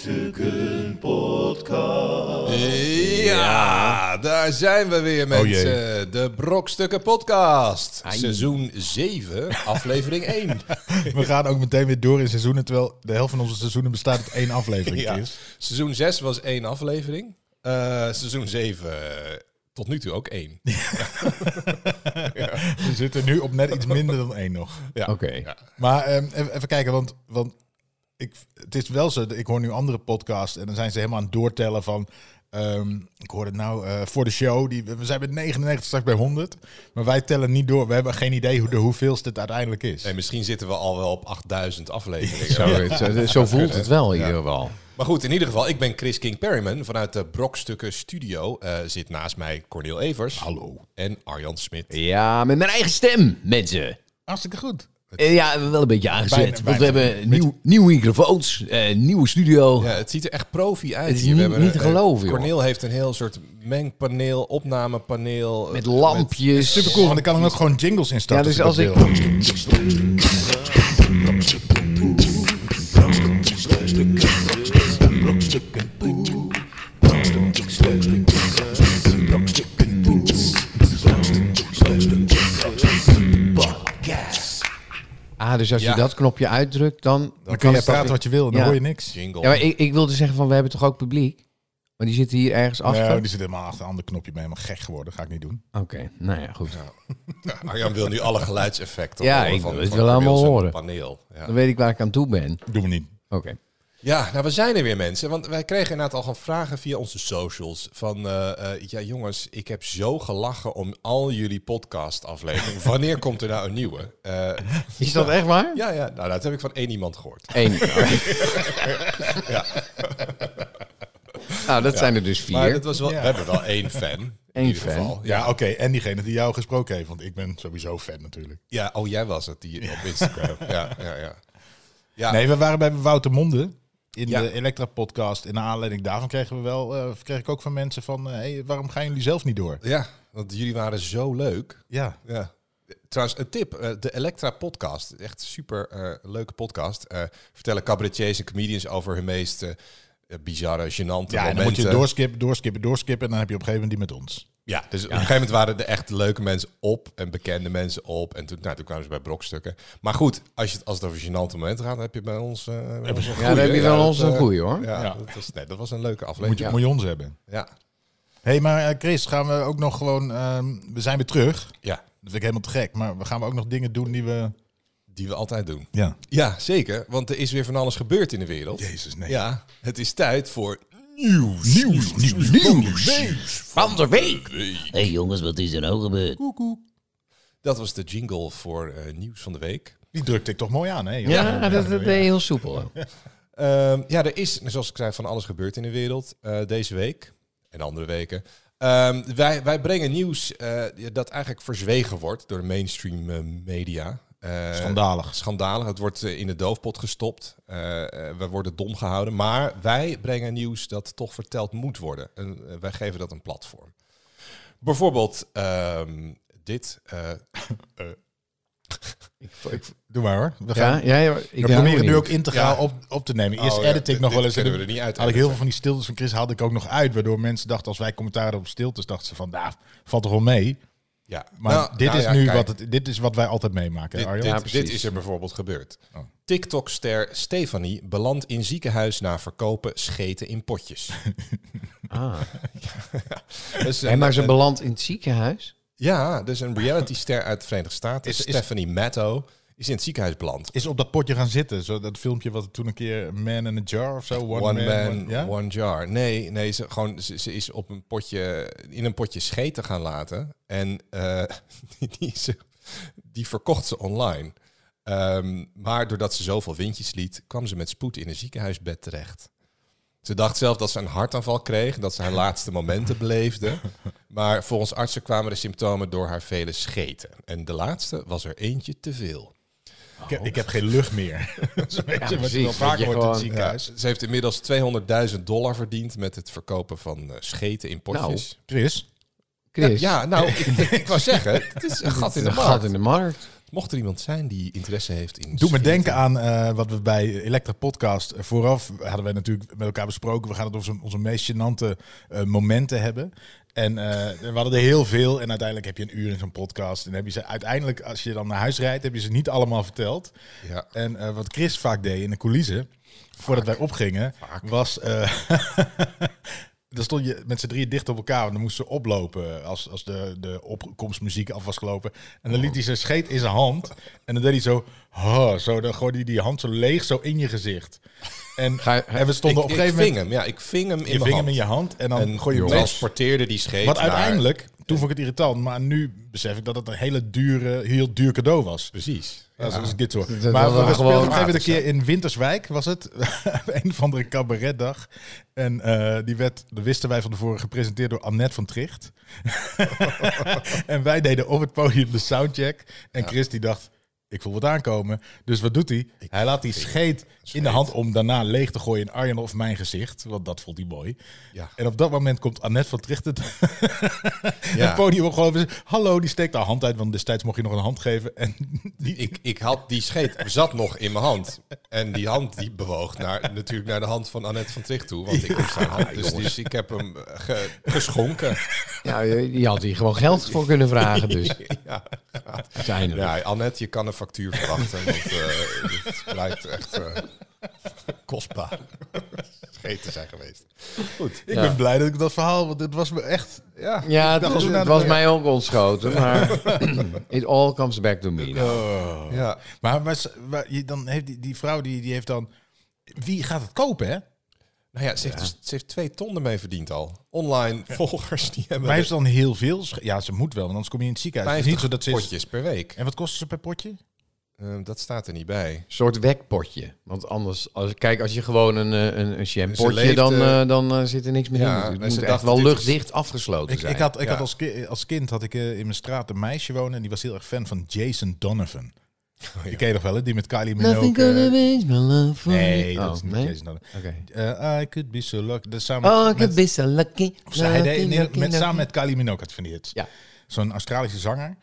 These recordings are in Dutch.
Brokstukken Podcast. Ja, daar zijn we weer met Oh jee. eh, de Brokstukken Podcast. Ai. Seizoen 7, aflevering 1. We gaan ook meteen weer door in seizoenen, terwijl de helft van onze seizoenen bestaat uit één aflevering. ja. Chris. Seizoen 6 was één aflevering. Eh, seizoen 7 tot nu toe ook één. We zitten nu op net iets minder dan één nog. Ja. Oké. Ja. Maar ehm, even, even kijken, want, want ik, het is wel zo, dat ik hoor nu andere podcasts en dan zijn ze helemaal aan het doortellen van... ehm, ik hoorde het nou eh, voor de show, die, we zijn bij 99 straks bij 100, maar wij tellen niet door. We hebben geen idee hoe de hoeveelste het uiteindelijk is. Nee, misschien zitten we al wel op 8000 afleveringen. Zo, zo, zo voelt het wel in ieder geval. Maar goed, in ieder geval, ik ben Chris King Perryman. Vanuit de Brokstukken Studio eh, zit naast mij Cornel Evers. Hallo. En Arjan Smit. Ja, met mijn eigen stem, mensen. Hartstikke goed. Eh, Ja, wel een beetje aangezet. Bijna- want we bijna. hebben nieuw, nieuwe microfoons, eh, nieuwe studio. Ja, het ziet er echt profi uit. Het is hier. We niet- hebben niet te een- geloven, joh. Cornel heeft een heel soort mengpaneel, opnamepaneel. eh, Met lampjes. Super cool, want ik kan dan ook gewoon jingles Ja, instarten. dus als ik... Ah, dus als je Ja. dat knopje uitdrukt, dan... Dan kan je praten wat je wil, dan Ja. hoor je niks. Jingle. Ja, maar ik, ik wilde zeggen van, we hebben toch ook publiek? Maar die zitten hier ergens achter? Nou, die zit helemaal achter een ander knopje. Ik ben helemaal gek geworden. Ga ik niet doen. Oké, nou ja, goed. Arjan wil nu alle geluidseffecten. Ja, horen ik wil het wel Cornel allemaal zijn horen. Paneel. Ja. Dan weet ik waar ik aan toe ben. Oké. Doen we niet. Ja, nou we zijn er weer mensen. Want wij kregen inderdaad al gaan vragen via onze socials. Van, eh, eh, ja jongens, ik heb zo gelachen om al jullie podcast afleveringen. Wanneer komt er nou een nieuwe? Eh, Is dat echt waar? ja, ja, nou dat heb ik van één iemand gehoord. Eén. Nou, dat zijn er dus Maar vier. dat was wel, Ja. we hebben wel één fan. in Eén ieder fan. geval. Ja, oké. En diegene die jou gesproken heeft. Want ik ben sowieso fan natuurlijk. Ja, oh jij was het die op Instagram. ja, ja, ja. ja. Nee, we waren bij Wouter Monde. In Ja. de Elektra-podcast. En naar aanleiding daarvan kregen we wel, eh, kreeg ik ook van mensen van... eh, hey, waarom gaan jullie zelf niet door? Ja, want jullie waren zo leuk. Ja. Ja. Trouwens, een tip. eh, De Electra podcast. Echt super eh, leuke podcast. Eh, vertellen cabaretiers en comedians over hun meest eh, bizarre, gênante Ja, en momenten. dan moet je doorskippen, doorskippen, doorskippen. En dan heb je op een gegeven moment die met ons. Ja, dus op een gegeven moment waren er echt leuke mensen op en bekende mensen op. En toen, nou, toen kwamen ze bij brokstukken. Maar goed, als, je, het- als het over gênante momenten gaat, dan heb je bij ons... eh, bij ons een Ja, dan heb je goeie. wel dat, ons een eh, goeie hoor. Ja, Ja. Dat, was, nee, dat was een leuke Moet je, aflevering. moet je ons hebben. Ja, hey, maar eh, Chris, gaan we ook nog gewoon... ehm, we zijn weer terug. ja, Dat vind ik helemaal te gek. Maar we gaan we ook nog dingen doen die we... die we altijd doen. Ja. Ja, zeker. Want er is weer van alles gebeurd in de wereld. Jezus, nee. Ja, het is tijd voor nieuws. Nieuws, nieuws, nieuws. van de week. Hé hey jongens, wat is er nou gebeurd? Dat was de jingle voor eh, nieuws van de week. Die drukte ik toch mooi aan, hè? Ja, dat, dat deed je heel soepel. Ehm, ja, er is, zoals ik zei, van alles gebeurd in de wereld eh, deze week en andere weken. Ehm, wij, wij brengen nieuws eh, dat eigenlijk verzwegen wordt door de mainstream eh, media. Eh, Schandalig. Schandalig. Het wordt eh, in de doofpot gestopt. Eh, eh, we worden dom gehouden. Maar wij brengen nieuws dat toch verteld moet worden. En eh, wij geven dat een platform. Bijvoorbeeld ehm, dit. eh, Doe maar hoor. We gaan, Ja, ja, ja, we ik ben proberen ook nu niet. ook integraal Ja. op, op te nemen. Eerst Oh, ja, edit ik dit- nog wel dit eens. en kunnen we dan er niet uit Had ik heel editen. veel van die stiltes van Chris haalde ik ook nog uit. Waardoor mensen dachten als wij commentaar op stiltes, dachten ze van, nou, valt toch wel mee. ja. Maar Nou, dit nou is ja, nu kijk, wat, het, dit is wat wij altijd meemaken. hè, Dit, Arjan? dit, Ja, dit precies. is er bijvoorbeeld gebeurd. Oh. TikTok-ster Stefanie belandt in ziekenhuis na verkopen scheten in potjes. Ah. Dus, Hé, maar ze eh, belandt in het ziekenhuis. ja, dus een reality-ster uit de Verenigde Staten, Is- is- Stephanie Matto, is in het ziekenhuis beland. Is op dat potje gaan zitten. Zo dat filmpje wat toen een keer Man in a Jar of zo. One, One, man, one- ja? one jar. Nee, nee ze, gewoon, ze, ze is op een potje, in een potje scheten gaan laten. En eh, die, die, ze- die verkocht ze online. Ehm, maar doordat ze zoveel windjes liet, kwam ze met spoed in een ziekenhuisbed terecht. Ze dacht zelf dat ze een hartaanval kreeg, dat ze haar laatste momenten beleefde. Maar volgens artsen kwamen de symptomen door haar vele scheten. En de laatste was er eentje te veel. ik, heb, ik heb geen lucht meer. dat is een beetje wat je precies, wel dat vaker je wordt in het gewoon- Ja, ziekenhuis. ze ze heeft inmiddels 200.000 dollar verdiend met het verkopen van eh, scheten in potjes. Chris, nou, Chris, Ja, nou, ik, ik, ik wou zeggen, het is een gat in de een gat markt. in de markt. Mocht er iemand zijn die interesse heeft in... Doe me schieten- denken aan eh, wat we bij Elektra Podcast eh, vooraf hadden wij natuurlijk met elkaar besproken. We gaan het over onze- onze meest gênante eh, momenten hebben. En eh, we hadden er heel veel. En uiteindelijk heb je een uur in zo'n podcast. En heb je ze uiteindelijk, als je dan naar huis rijdt, heb je ze niet allemaal verteld. Ja. En eh, wat Chris vaak deed in de coulissen, voordat wij opgingen, was... eh Dan stond je met z'n drieën dicht op elkaar. Want dan moesten ze oplopen als, als de, de opkomstmuziek af was gelopen. En dan liet hij zijn scheet in zijn hand. En dan deed hij zo... "Huh," zo dan gooide hij die hand zo leeg zo in je gezicht. En, Ga- en we stonden ik, op een gegeven moment... ving hem, ja. Ik ving hem in Je mijn ving hand. hem in je hand en dan En gooi je joh, hem weg. transporteerde die scheet Wat naar- uiteindelijk, toen vond ik het irritant. Maar nu besef ik dat het een hele dure, heel duur cadeau was. Precies. Ja, Ja. zoals ik dit hoor. Dat- dat- maar dat- we, we dat- speelden op een gewoon- gegeven moment een keer in Winterswijk, was het. een van de cabaretdag. En eh, die werd, dat wisten wij van tevoren, gepresenteerd door Annette van Tricht. en wij deden op het podium de soundcheck. En Chris die dacht, ik voel wat aankomen. Dus wat doet hij? hij laat die scheet in de hand om daarna leeg te gooien in Arjen of mijn gezicht. Want dat vond hij mooi. Ja. En op dat moment komt Annette van Tricht het Ja. podium op. Gewoon, even- hallo, die steekt haar hand uit. Want destijds mocht je nog een hand geven. En die, Ik, ik had die scheet zat nog in mijn hand. En die hand die bewoog naar, natuurlijk naar de hand van Annette van Tricht toe. Want ik was zijn hand. Dus, dus ik heb hem eh, ge- geschonken. Ja, je, je had hier gewoon geld voor kunnen vragen dus. Ja. Uiteindelijk. ja, dus- Annette, je kan een factuur verwachten. Want eh het blijkt echt eh, kostbaar scheet te zijn geweest. Goed. Ik Ja. ben blij dat ik dat verhaal, want dit was me echt... Ja. Ja, dacht het, als we het naar de- was mij ook ontschoten, maar it all comes back to me. now. ja. Oh. Maar, maar, s- maar je- dan heeft die, die vrouw, die, die heeft dan... Wie gaat het kopen, hè? Nou ja, ze heeft, dus- ze heeft twee ton ermee verdiend al. Online volgers die hebben Maar heeft ze dan heel veel? sch- Ja, ze moet wel, want anders kom je in het ziekenhuis. Het is 50 niet zo dat ze is... potjes per week. En wat kosten ze per potje? Eh, dat staat er niet bij. Een soort wekpotje. Want anders, als, kijk, als je gewoon een, eh, een, een shampootje, leeft, dan, eh, eh, dan eh, zit er niks meer Ja, in. Het en ze moet echt dacht, wel dit is- luchtdicht afgesloten Ik, zijn. ik, had, ik ja. had als, ki- als kind had ik eh, in mijn straat een meisje wonen... en die was heel erg fan van Jason Donovan. Die ken je toch wel, hè? Die met Kylie Oh, Nothing Minogue... gonna eh, change my love for Nee, you. dat Oh, is niet nee? Jason Donovan. Oké. Eh, I could be so lucky. Dat is samen Oh, ik met- heb best lucky. Of ze- hij deed lucky, een heel- lucky, met, lucky. samen met Kylie Minogue had van die hits. Ja. Zo'n Australische zanger.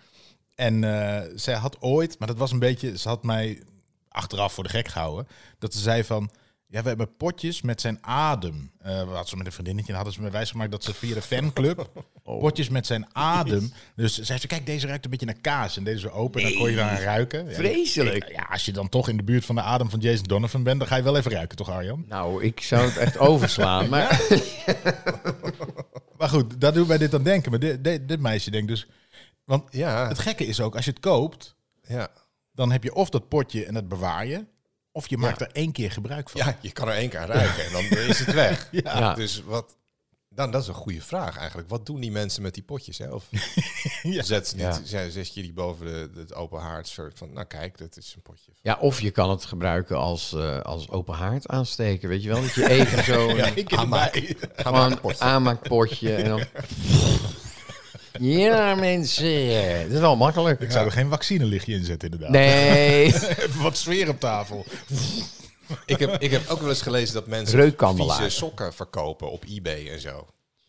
En eh, zij had ooit, maar dat was een beetje, ze had mij achteraf voor de gek gehouden, dat ze zei van, ja, we hebben potjes met zijn adem. Eh we hadden ze met een vriendinnetje en hadden ze me wijsgemaakt dat ze via de fanclub potjes met zijn adem. Dus ze zei, kijk, deze ruikt een beetje naar kaas. En deze zo open, en dan kon je eraan ruiken. Ja, Vreselijk. ik- ja, als je dan toch in de buurt van de adem van Jason Donovan bent, dan ga je wel even ruiken, toch Arjan? Nou, ik zou het echt overslaan. Maar Maar goed, daar doen wij dit aan denken. Maar dit, dit, dit meisje denkt dus... Want Ja. het gekke is ook, als je het koopt... Ja. dan heb je of dat potje en dat bewaar je... of je maakt er één keer gebruik van. ja, je kan er één keer aan ruiken en dan is het weg. Ja. Dus wat... Dan, dat is een goede vraag eigenlijk. Wat doen die mensen met die potjes? Hè? Of Ja. zet, ze Ja. niet, zet, zet je die boven de, het open haard? soort van, nou kijk, dat is een potje. ja, of je kan het gebruiken als, eh, als open haard aansteken. Weet je wel, dat je even zo een, Eén keer Aanmaak. erbij. Ga maar een gewoon potje. aanmaakpotje. En dan... Ja, mensen. Dat is wel makkelijk. Ik zou er geen vaccinelichtje in zetten, inderdaad. Nee. Even wat sfeer op tafel. Ik heb, ik heb ook wel eens gelezen dat mensen Reukkandelaar. vieze sokken verkopen op eBay en zo.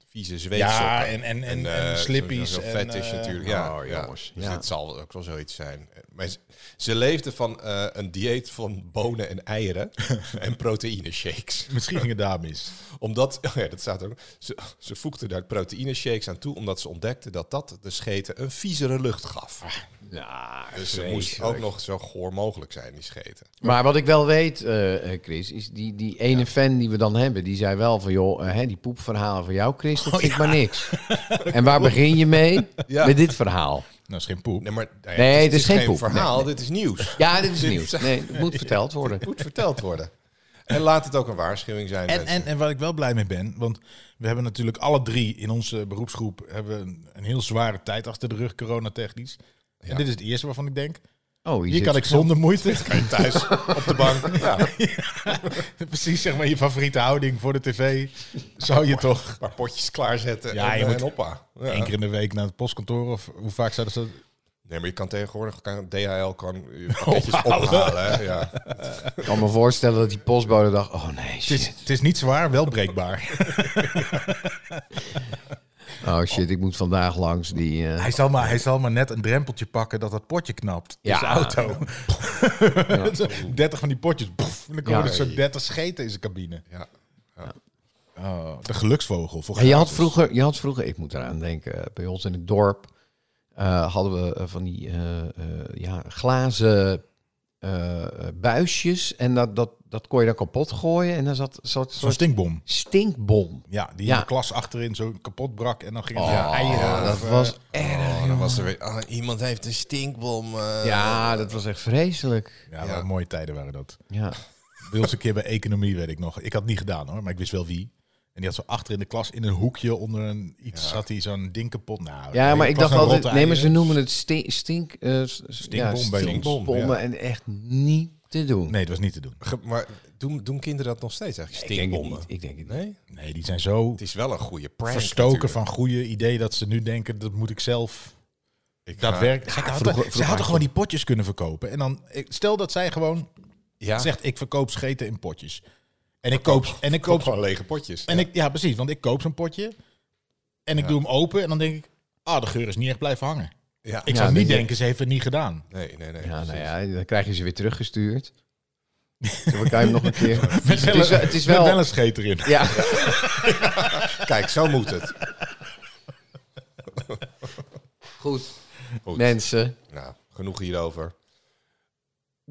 Vieze zweetsokken. Ja, en, en, en, en, eh, slippies. zo'n- zo'n en, fetish eh, natuurlijk. Ja, Oh, ja. jongens, Dus ja. dit zal ook wel zoiets zijn. Maar ze, ze leefde van eh, een dieet van bonen en eieren en proteïne shakes. Misschien ging het daar mis. Omdat, oh ja, dat staat er ook. Ze, ze voegde daar proteïne shakes aan toe, omdat ze ontdekte dat dat de scheten een viezere lucht gaf. Nou, Dus ze moest ook nog zo goor mogelijk zijn, die scheten. Maar wat ik wel weet, eh, eh, Chris, is die, die ene fan die we dan hebben, die zei wel van joh, eh, hè, die poepverhalen van jou, Chris, Oh, dat vind ik maar niks. en waar begin je mee? Ja. Met dit verhaal. Nou, is geen poep. Nee, maar nou ja, Nee, het, het is is geen geen poep. verhaal, dit is nieuws. Ja, dit is Dit nieuws. is- Nee, het moet verteld worden. Moet verteld worden. En laat het ook een waarschuwing zijn. En, mensen. en, en waar ik wel blij mee ben, want we hebben natuurlijk alle drie in onze beroepsgroep hebben we een, een heel zware tijd achter de rug, coronatechnisch. Ja. En dit is het eerste waarvan ik denk, Oh, hier zit- kan ik zonder moeite. thuis op de bank. Ja, een Precies, zeg maar je favoriete houding voor de tv. Zou je toch paar potjes klaarzetten Ja, en, je eh, moet en hoppa. Ja. één keer in de week naar het postkantoor? Of hoe vaak zouden ze dat... Nee, maar je kan tegenwoordig, kan, DHL kan je pakketjes ophalen. Hè? Ja. ik kan me voorstellen dat die postbode dacht, oh nee, Het is, shit. het is niet zwaar, wel breekbaar. Oh, Oh shit, ik moet vandaag langs die... eh, Hij zal, maar, hij zal maar net een drempeltje pakken dat dat potje knapt. Ja. Ja. Zijn auto. 30 van die potjes. Boef, en dan komen Ja. er zo'n 30 scheten in zijn cabine. Ja. Oh, de geluksvogel. Voor En je had gratis. vroeger, je had vroeger, ik moet eraan denken, bij ons in het dorp eh, hadden we eh, van die eh, eh, ja, glazen eh, buisjes en dat, dat, dat kon je dan kapot gooien en daar zat zat een Zo'n soort stinkbom. stinkbom. Ja, die Ja. in de klas achterin zo kapot brak. En dan ging het Oh, ja, eieren. dat of, eh, was Oh, dan was er weer, ah, iemand heeft een stinkbom. eh. ja, dat was echt vreselijk. ja, wat Ja. mooie tijden waren dat. Ja. Bij ons een keer bij economie, weet ik nog. Ik had het niet gedaan hoor, maar ik wist wel wie. En die had zo achter in de klas in een hoekje onder een iets zat hij zo'n ding kapot. Nou, ja, maar ik was dacht een altijd, rotte nee, maar ze eieren. noemen het stink, stink, eh, s- ja, Stinkbom bij ons. stinkbommen Ja. en echt niet te doen. Nee, het was niet te doen. Ge- maar doen, doen kinderen dat nog steeds ik eigenlijk? denk het Stinkbommen? niet. Ik denk het niet. Nee? Nee, die zijn zo Het is wel een goede prank. verstoken natuurlijk. van goede idee dat ze nu denken dat moet ik zelf. Ik Dat ga- werkt. Ze hadden, vroeger- ze vroeger hadden had gewoon die potjes kunnen verkopen. En dan ik- stel dat zij gewoon Ja, zegt ik verkoop scheten in potjes. En ik koop en ik koop gewoon lege potjes. en ik ja precies, want ik koop zo'n potje en ik doe hem open en dan denk ik ah de geur is niet echt blijven hangen. ja. Ik Ja, zou denk niet je- denken ze heeft het niet gedaan. Nee, nee, nee. Ja, nou precies. ja, dan krijg je ze weer teruggestuurd. Dan kan je hem nog een keer. Met Het is, wel- het is wel. met wel een scheet erin. ja, Kijk, zo moet het. goed. Goed. Mensen. Nou, genoeg hierover.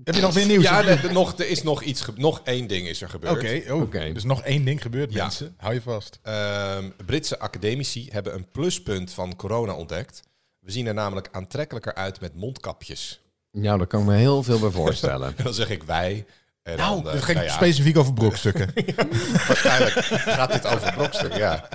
Heb je nog weer nieuws? Ja, Oké, er, er- nog, er is nog iets, ge- nog één ding is er gebeurd. oh, Oké. dus nog één ding gebeurt Ja. mensen. Hou je vast. Ehm, Britse academici hebben een pluspunt van corona ontdekt. We zien er namelijk aantrekkelijker uit met mondkapjes. Nou, daar kan ik me heel veel bij voorstellen. En dan zeg ik wij. En Nou, dan, dat eh, ging nou ja, specifiek over brokstukken. waarschijnlijk gaat dit over brokstukken. Ja.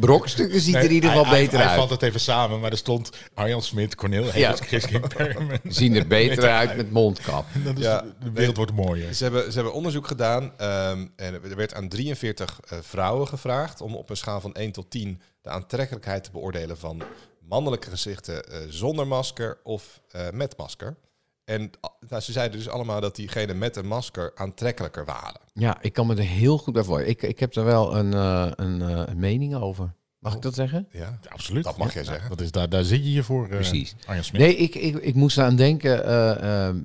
Brokstukken ziet er in ieder geval hij- hij- beter hij uit. valt het even samen, maar er stond Arjan Smit, Cornel Evers, Chris King Perman. Zien er beter uit met mondkap. Dat is- Ja. De wereld wordt mooier. Ze hebben, ze hebben onderzoek gedaan ehm, en er werd aan 43 eh, vrouwen gevraagd om op een schaal van 1 tot 10 de aantrekkelijkheid te beoordelen van mannelijke gezichten eh, zonder masker of eh, met masker. En ah, nou, ze zeiden dus allemaal dat diegenen met een masker aantrekkelijker waren. Ja, ik kan me er heel goed bij voorstellen. Ik, ik heb daar wel een, eh, een, eh, een mening over. Mag ik dat zeggen? Ja, Absoluut. dat mag jij Ja, zeggen. Dat is, daar, daar zit je hier voor, eh, Precies. Arjan Smit. Nee, ik, ik, ik moest eraan denken. eh, ehm,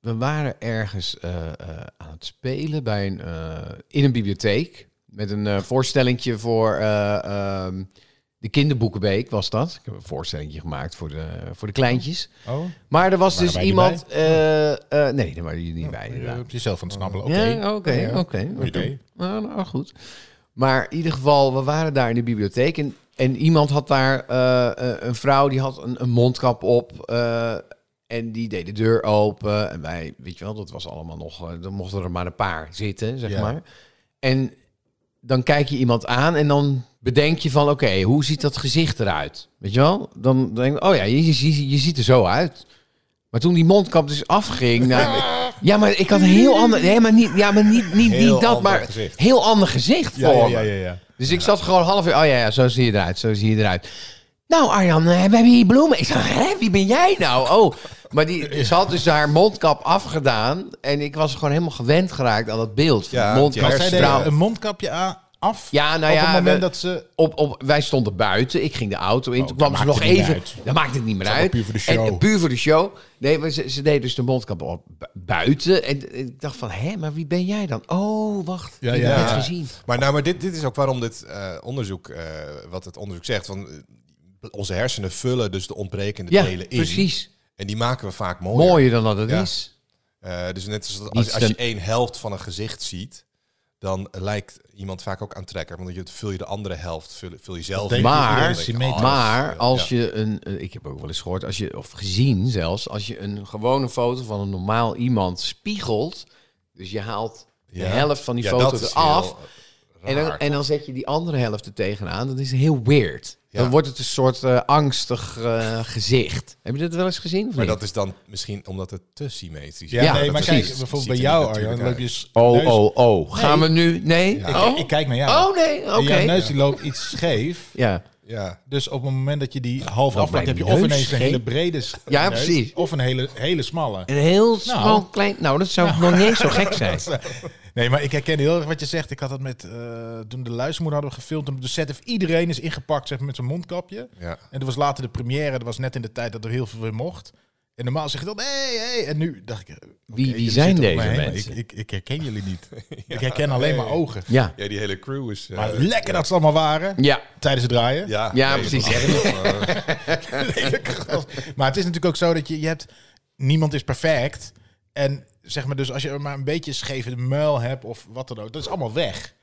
we waren ergens eh, eh, aan het spelen bij een, eh, in een bibliotheek. Met een eh voorstellingje voor eh, ehm, de kinderboekenbeek was dat. Ik heb een voorstellingje gemaakt voor de, voor de kleintjes. Oh, Maar er was Waren dus wij niet Oh, iemand... eh, eh, nee, daar waren jullie niet bij je inderdaad. hebt jezelf aan het snabbelen. Oké. Ja, oh. oké, oké. Moet je oké. doen. Nou, nou, goed. Maar in ieder geval, we waren daar in de bibliotheek en, en iemand had daar eh, eh, een vrouw die had een, een mondkap op eh, en die deed de deur open en wij, weet je wel, dat was allemaal nog, eh, dan mochten er maar een paar zitten, zeg Ja. maar. En dan kijk je iemand aan en dan bedenk je van, oké, hoe ziet dat gezicht eruit? Weet je wel? Dan denk je, oh ja, je, je, je ziet er zo uit. Maar toen die mondkap dus afging, nou, ja, maar ik had een heel ander, nee, maar niet, ja, maar niet, niet, Heel niet dat, ander maar gezicht. heel ander gezicht Ja, voor ja, me. ja, ja, ja. Dus ik zat gewoon half uur, oh ja, ja, zo zie je eruit, zo zie je eruit. Nou Arjan, eh, we hebben hier bloemen. Ik dacht, hè, wie ben jij nou? Oh, maar die, ze had dus haar mondkap afgedaan en ik was gewoon helemaal gewend geraakt aan dat beeld. Van Ja, mondkap, Maar zij deed straal. eh, een mondkapje aan, af Ja, nou op ja, het moment we- dat ze... Op, op, wij stonden buiten, ik ging de auto in. Oh, toen dat kwam ze nog maakt het niet even. uit. Dat maakt het niet meer Dat is uit. allemaal puur voor de show. En, puur voor de show. Nee, maar ze, ze deed dus de mondkap op bu- buiten. En, en ik dacht van, hé, maar wie ben jij dan? Oh, wacht. Ja, ik ja. heb het Ja. gezien. Maar, nou, maar dit, dit is ook waarom dit eh, onderzoek, eh, wat het onderzoek zegt, van eh, onze hersenen vullen dus de ontbrekende Ja, delen in. precies. En die maken we vaak mooier. Mooier dan dat het Ja. is. Eh, dus net als dat Niet als, als je ten- één helft van een gezicht ziet, dan lijkt iemand vaak ook aantrekkelijk. Want je vul je de andere helft, vul, vul je zelf. denk in. ik Dan Maar, denk je, symmetrisch. oh, maar dat is, eh, als ja. je een, eh, ik heb ook wel eens gehoord, als je, of gezien zelfs, als je een gewone foto van een normaal iemand spiegelt, dus je haalt Ja. de helft van die Ja, dat foto is eraf, heel en dan, raar. en dan zet je die andere helft er tegenaan, dat is heel weird. Ja. Dan wordt het een soort eh, angstig eh, gezicht. Heb je dat wel eens gezien? Of Maar niet? dat is dan misschien omdat het te symmetrisch is. Ja, Ja, nee, maar precies. kijk, bijvoorbeeld Ziet bij er jou, natuurlijk Arjan, loop je... uit. s- Oh, neus- oh, oh. Gaan we nu? Nee? Ja, Oh? Ik, ik kijk naar jou. oh, nee, oké. En Jouw neus die loopt iets scheef. Ja. Ja. Dus op het moment dat je die half Nou, afmaakt, bij heb je die of neus ineens een geen- hele brede s- Ja, neus, precies. Of een hele, hele smalle. Een heel smal Nou. klein... Nou, dat zou nog niet eens zo gek zijn. eh, Nee, maar ik herken heel erg wat je zegt. Ik had dat met, eh, toen de luismoeder hadden we gefilmd. Op de set heeft iedereen is ingepakt zeg, maar, met zijn mondkapje. Ja. En dat was later de première. Dat was net in de tijd dat er heel veel weer mocht. En normaal zeg je dan, hé, hey, hé. En nu dacht ik... eh, oké, Wie- wie jullie zijn zitten om me deze heen, maar mensen? Ik, ik, ik herken jullie niet. ik herken alleen maar ogen. Ja, Ja, die hele crew is... eh, Maar lekker dat ze allemaal waren ja. tijdens het draaien. Ja, Ja, dat precies. was echt nog, eh, Lelijk gras. Maar het is natuurlijk ook zo dat je, je hebt... Niemand is perfect. En zeg maar dus als je maar een beetje scheef in de muil hebt of wat dan ook. Dat is allemaal weg.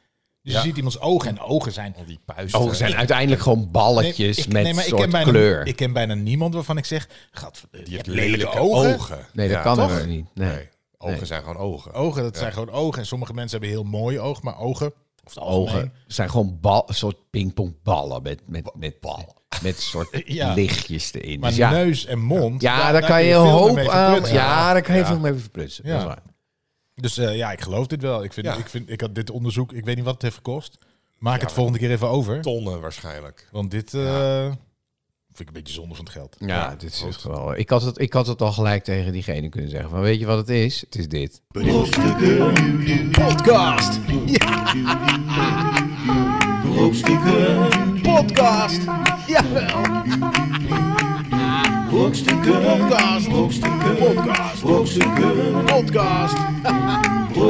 Dus Ja. je ziet iemands ogen en ogen zijn... al die puisten. Oh, ze zijn uiteindelijk gewoon balletjes Nee, ik- met nee, maar ik soort ken bijna, kleur. Ik ken bijna niemand waarvan ik zeg... Gat, eh, je, Die hebt heeft lelijke, ogen. nee, dat Ja, kan toch? er niet. Nee. Nee, ogen zijn gewoon ogen. Ogen, dat zijn gewoon ogen. En sommige mensen hebben heel mooi oog, maar ogen... Of het algemeen- Ogen zijn gewoon bal, een soort pingpongballen met, met, met, bal. met soort Ja. lichtjes erin. Maar Dus ja, neus en mond... ja daar, kun kan je een veel meer hoop mee aan. verprutsen. Ja, daar kan je Ja. veel mee verprutsen. Dat is Ja. waar. Dus eh, ja, ik geloof dit wel. Ik, vind, Ja. ik, vind, ik had dit onderzoek, ik weet niet wat het heeft gekost. Maak het volgende keer even over. Tonnen waarschijnlijk. Want dit eh, vind ik een beetje zonde van het geld. Ja, Ja, dit is goed. echt wel. Ik had, het, ik had het al gelijk tegen diegene kunnen zeggen. Van weet je wat het is? Het is dit. Podcast! Podcast! Podcast! Podcast! Podcast!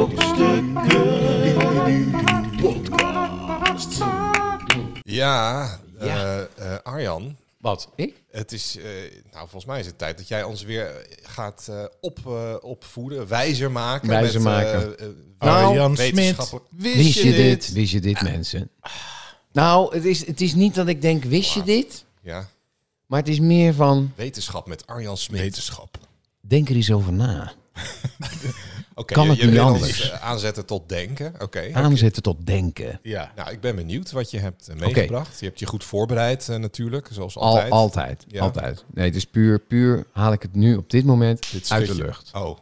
Ja, eh, Ja. eh, Arjan. Wat? Ik? Het is, eh, nou volgens mij is het tijd dat jij ons weer eh, gaat eh, op, eh, opvoeden, wijzer maken. Wijzer met, eh, maken. eh, Nou, Arjan Smit, wetenschappelijk- wist je dit? Wist je dit, mensen? Nou, het is, het is niet dat ik denk, wist je dit? Ja, Maar het is meer van, wetenschap met Arjan Smit. Wetenschap. denk er eens over na. Oké, Kan je- het je niet wil ons, anders? eh, aanzetten tot denken. Oké. Aanzetten tot denken. Ja. Nou, ik ben benieuwd wat je hebt eh, meegebracht. Je hebt je goed voorbereid eh, natuurlijk, zoals Al, altijd. altijd. Altijd. Ja. Nee, het is puur, puur haal ik het nu op dit moment Dit uit de stukje- lucht. Oh,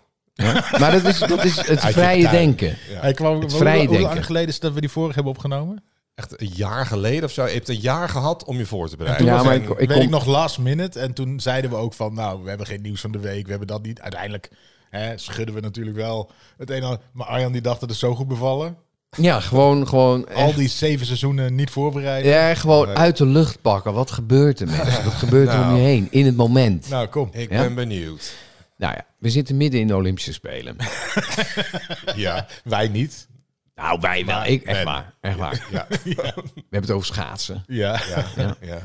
Maar dat is, dat is het Uit je vrije tuin. denken. Hij kwam, hoe, vrije hoe lang denken. geleden is dat we die vorige hebben opgenomen? echt een jaar geleden of zo. Je hebt een jaar gehad om je voor te bereiden. toen Ja, We maar zijn- ik- Weet kom- ik nog last minute. En toen zeiden we ook van, nou, we hebben geen nieuws van de week. We hebben dat niet. Uiteindelijk hè, schudden we natuurlijk wel het een en ander. Maar Arjan die dacht dat het zo goed bevallen. Ja, gewoon, gewoon, Al echt, die zeven seizoenen niet voorbereiden. ja, gewoon uit de lucht pakken. Wat gebeurt er, mensen? Wat gebeurt er om Oh, Nou. je heen? In het moment. Nou, kom. ik Ja? ben benieuwd. Nou ja, we zitten midden in de Olympische Spelen. Ja, Wij niet. Nou, wij wel. Ik, echt Ben. waar, echt waar. ja, We hebben het over schaatsen. Ja. ja. ja.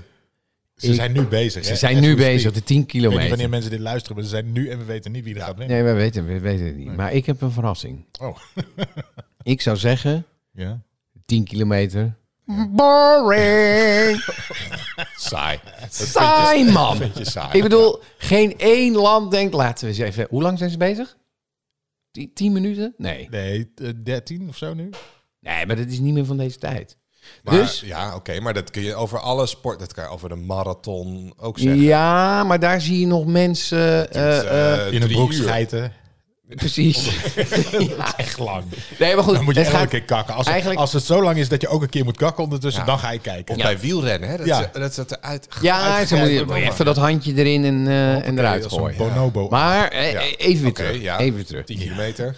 Ze zijn nu bezig. Ze zijn nu bezig, de 10 Ik weet niet wanneer kilometer. mensen dit luisteren, maar ze zijn nu en we weten niet wie er gaat winnen. Nee, we weten, we weten het niet. Maar ik heb een verrassing. Oh. Ik zou zeggen, Ja. 10 kilometer. Boring. Saai. Dat vind je- Saai, man. vind je saai. Ik bedoel, geen één land denkt, laten we eens even... Hoe lang zijn ze bezig? 10 minuten? Nee. Nee, eh, 13 of zo nu. Nee, maar dat is niet meer van deze tijd. Maar, dus- Ja, oké, maar dat kun je over alle sport, dat kan je over de marathon ook zeggen. Ja, maar daar zie je nog mensen... eh, eh, Eh, In een drie broek uur. schijten. precies. Echt lang. Nee, maar goed. Dan moet je het elke gaat- keer kakken. Als, eigenlijk- het, als het zo lang is dat je ook een keer moet kakken ondertussen, Ja. dan ga je kijken. Of bij wielrennen, hè? Dat, Ja. ze- dat ze het eruit Ja, uitgegrepen ze moet je worden. even dat handje erin en, eh, en eruit Als een gooien. bonobo. Maar eh, Ja. eh, even weer Oké, terug. ja. Even weer terug. 10 kilometer.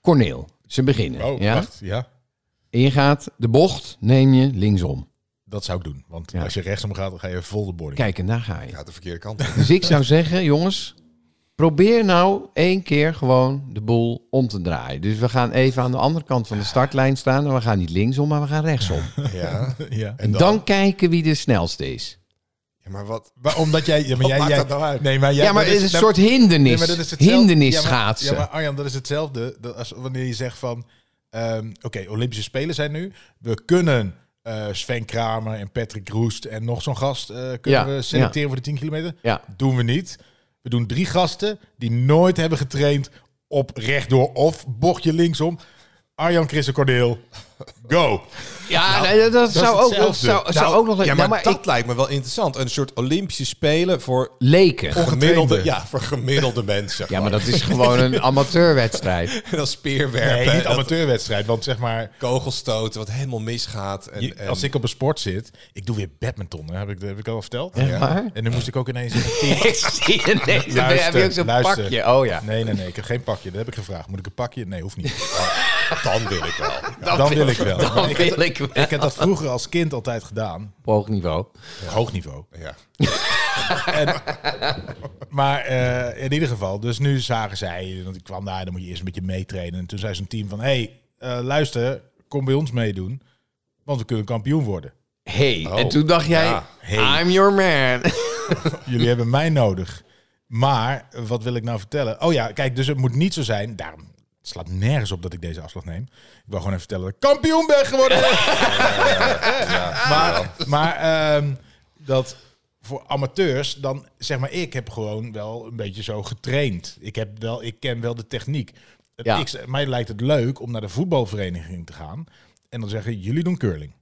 Corneel, ze beginnen. Oh, ja? wacht. Ja, En je gaat de bocht, neem je linksom. dat zou ik doen. Want Ja. als je rechtsom gaat, dan ga je vol de boarding. Kijk, en daar ga je. Ja, de verkeerde kant. op. Dus ik zou zeggen, jongens, probeer nou één keer gewoon de boel om te draaien. Dus we gaan even aan de andere kant van de startlijn staan. En we gaan niet linksom, maar we gaan rechtsom. Ja. Ja. En dan kijken wie de snelste is. ja, maar wat? Maar omdat jij... Ja, maar Wat jij, maakt jij- dat nou uit? Nee, maar jij, Ja, maar dat het is een nou- soort Nee, hindernis. maar dat is hetzelfde. hindernis Ja, maar- schaatsen. Ja, maar Arjan, dat is hetzelfde dat als wanneer je zegt van... ehm, Oké, Olympische Spelen zijn nu. We kunnen eh, Sven Kramer en Patrick Roest en nog zo'n gast eh, kunnen Ja, we selecteren voor de 10 kilometer. Ja. Doen we niet. We doen drie gasten die nooit hebben getraind op rechtdoor of bochtje linksom. Arjan, Chris en Cordeel, go! Ja, nee, Nou, dat, dat zou, ook, dat hetzelfde. zou, zou Nou, ook nog... ja, Ja, maar, maar dat ik- lijkt me wel interessant. Een soort Olympische Spelen voor leken. gemiddelde, Ongetrainde. ja, voor gemiddelde mensen. Ja, maar dat is gewoon een amateurwedstrijd. En dan speerwerpen. Nee, niet dat amateurwedstrijd, want zeg maar... Kogelstoten, wat helemaal misgaat. En, Je- en- als ik op een sport zit, ik doe weer badminton, hè, heb ik, heb ik al verteld. Echt waar? En dan moest ik ook ineens in een team. Ik zie ineens, dan heb je ook zo'n luister. pakje. Oh ja. Nee, nee, nee, ik heb geen pakje. Dat heb ik gevraagd. Moet ik een pakje? Nee, hoeft niet. Dan wil ik wel. Dan wil ik wel. Maar Dan ik, heb, wil ik ik heb dat vroeger als kind altijd gedaan. op hoog niveau. Hoog niveau. Ja. Maar eh, in ieder geval, dus nu zagen zij, want ik kwam daar, dan moet je eerst een beetje meetrainen. En toen zei zo'n team van, hé, hey, eh, luister, kom bij ons meedoen, want we kunnen kampioen worden. Hey, Oh, en toen dacht jij, ja, I'm your man. Jullie hebben mij nodig. Maar, eh, wat wil ik nou vertellen? Oh ja, kijk, dus het moet niet zo zijn, daarom het slaat nergens op dat ik deze afslag neem. Ik wil gewoon even vertellen dat ik kampioen ben geworden. maar maar ehm, dat voor amateurs, dan zeg maar, ik heb gewoon wel een beetje zo getraind. Ik, heb wel, ik ken wel de techniek. Het- Ja. ik- mij lijkt het leuk om naar de voetbalvereniging te gaan. En dan zeggen, jullie doen curling.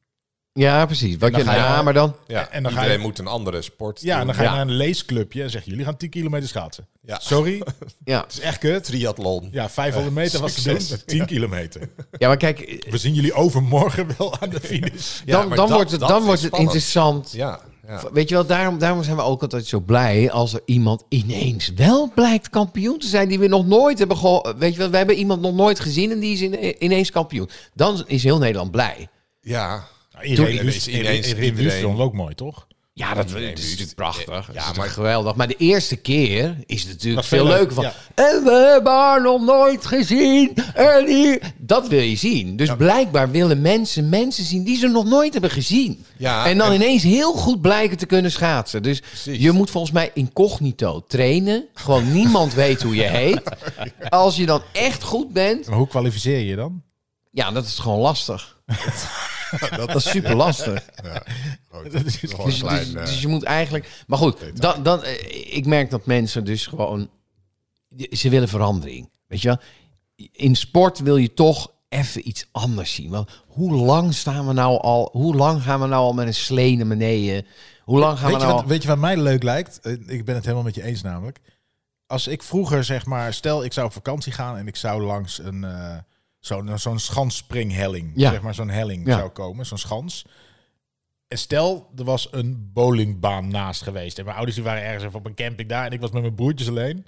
ja, precies. Wat je, ga je- ja, maar dan... ja. En dan ga Iedereen je- moet een andere sport Ja, en dan ga je Ja. naar een leesclubje en zeg jullie gaan 10 kilometer schaatsen. Ja. Sorry, het Ja. is echt kut. triathlon. Ja, 500 meter was te succes. doen, 10 kilometer. ja, maar kijk, We zien jullie overmorgen wel aan de finish. Ja, dan, maar dan dat- wordt het, dat dan is wordt het spannend. interessant. Ja, ja. Weet je wel, daarom, daarom zijn we ook altijd zo blij als er iemand ineens wel blijkt kampioen te zijn die we nog nooit hebben gehoord. Weet je wel, we hebben iemand nog nooit gezien en die is ine- ineens kampioen. Dan is heel Nederland blij. ja. Nou, iedereen Toen- wist- ineens- iedereen iedereen- wist het ook mooi, toch? Ja, dat, Nee, dat is dus- natuurlijk prachtig. Ja, Ja, maar maar- geweldig. Maar de eerste keer is het natuurlijk is veel veel leuker van. leuk, En we hebben haar nog nooit gezien. En hier. Dat wil je zien. Dus blijkbaar willen mensen mensen zien die ze nog nooit hebben gezien. Ja, en dan en- ineens heel goed blijken te kunnen schaatsen. Dus je moet volgens mij incognito trainen. Gewoon niemand weet hoe je heet. Als je dan echt goed bent, Maar hoe kwalificeer je je dan? ja, dat is gewoon lastig. dat, is super lastig. Goed, dat is gewoon Dus, een klein, dus, eh, dus je moet eigenlijk. Maar goed, dan, dan, eh, ik merk dat mensen dus gewoon. Ze willen verandering. Weet je wel? In sport wil je toch even iets anders zien. Want hoe lang staan we nou al? Hoe lang gaan we nou al met een slee naar beneden? Hoe lang gaan Weet, we je nou wat, al- weet je wat mij leuk lijkt? Eh, Ik ben het helemaal met je eens namelijk. Als ik vroeger zeg maar, stel ik zou op vakantie gaan en ik zou langs een eh, zo'n zo'n schansspringhelling, Ja. zeg maar zo'n helling Ja. zou komen, zo'n schans. En stel, er was een bowlingbaan naast geweest. En mijn ouders die waren ergens even op een camping daar en ik was met mijn broertjes alleen.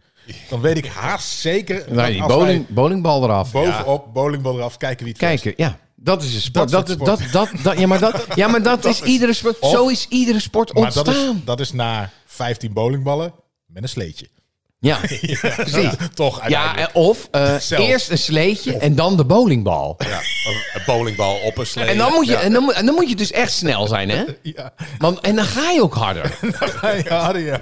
Dan weet ik haast zeker dat Nee, Nou, die als wij bowling, bowlingbal eraf. bovenop bowlingbal eraf kijken wie het Kijk, ja. Dat is een sport. Dat Dat soort dat, dat, dat- ja, maar dat, ja, maar dat, is, iedere sport. Of- zo is iedere sport Maar dat is, ontstaan. dat is na 15 bowlingballen met een sleetje. Ja, precies. Toch Ja, uiteindelijk. eh, of eh, Zelf. eerst een sleetje en dan de bowlingbal. ja, een- een bowlingbal op een slee. En dan, moet je, Ja. en, dan, moet- en dan moet je dus echt snel zijn, hè? Ja, Want, en dan ga je ook harder. ja, ja.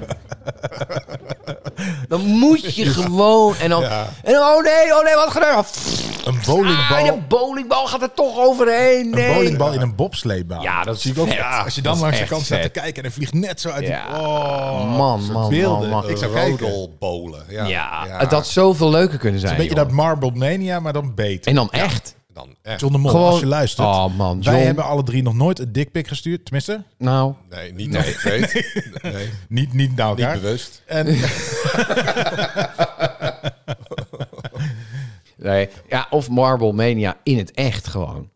Dan moet je gewoon... En dan, en dan, oh nee, oh nee, wat gaat er? Een Ah, bowlingbal, de bowlingbal gaat er toch overheen. een Nee. bowlingbal in een bobsleebaan. Ja, dat is zie ik ook. vet. Ja, als je dan Dat is langs de echt kant staat te vet. kijken en hij vliegt net zo uit die... Ja. Oh, Man, soort man, beelden. man, man. Ik zou kijken. Een Rodelbolen. Ja, Ja, het had zoveel leuker kunnen zijn. beetje joh. dat Marble Mania, maar dan beter. En dan echt. dan echt. John de Mol, Gewoon- als je luistert. Oh, man, Wij John. hebben alle drie nog nooit een dikpik gestuurd. Tenminste, Nou, Nee, niet dat ik weet. Nee, niet niet, niet naar elkaar. bewust. en, nee. Ja, of Marble Mania in het echt gewoon.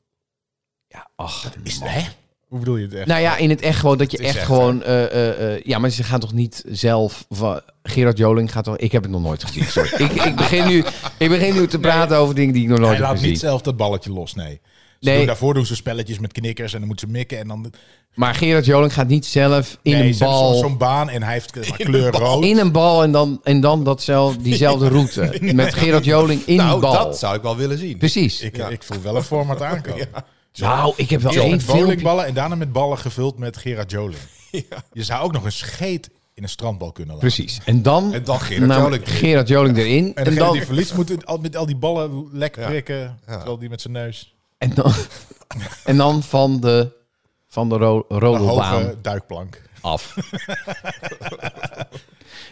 Ja, ach. man. hoe bedoel je het echt? Nou ja, in het echt gewoon dat je is echt, echt, gewoon. eh, eh, eh, ja, maar ze gaan toch niet zelf. va- Gerard Joling gaat toch. Ik heb het nog nooit gezien. Sorry. ik, ik, begin nu, ik begin nu te praten over dingen die ik nog nooit Hij heb laat gezien. niet zelf dat balletje los, nee. Ze Nee. Doen, daarvoor doen ze spelletjes met knikkers en dan moeten ze mikken. En dan Maar Gerard Joling gaat niet zelf in nee, een ze hebben bal. zo- Zo'n baan en hij heeft eh, maar kleur rood. in een bal en dan, en dan datzelfde, diezelfde route. Met Gerard Joling in nou, die bal. Dus- dat zou ik wel willen zien. Precies. Ik, ik voel wel een format aankomen. nou, ik heb wel Eerst één met filmpje. bowlingballen en daarna met ballen gevuld met Gerard Joling. Je zou ook nog een scheet in een strandbal kunnen laten. Precies. En dan, En dan Gerard nam Joling erin. Gerard Joling erin. En En degene dan, die verliest moet al- met al die ballen lek prikken. Terwijl die met zijn neus en, dan, en dan van de, van de ro een rodelbaan. hoge duikplank. af.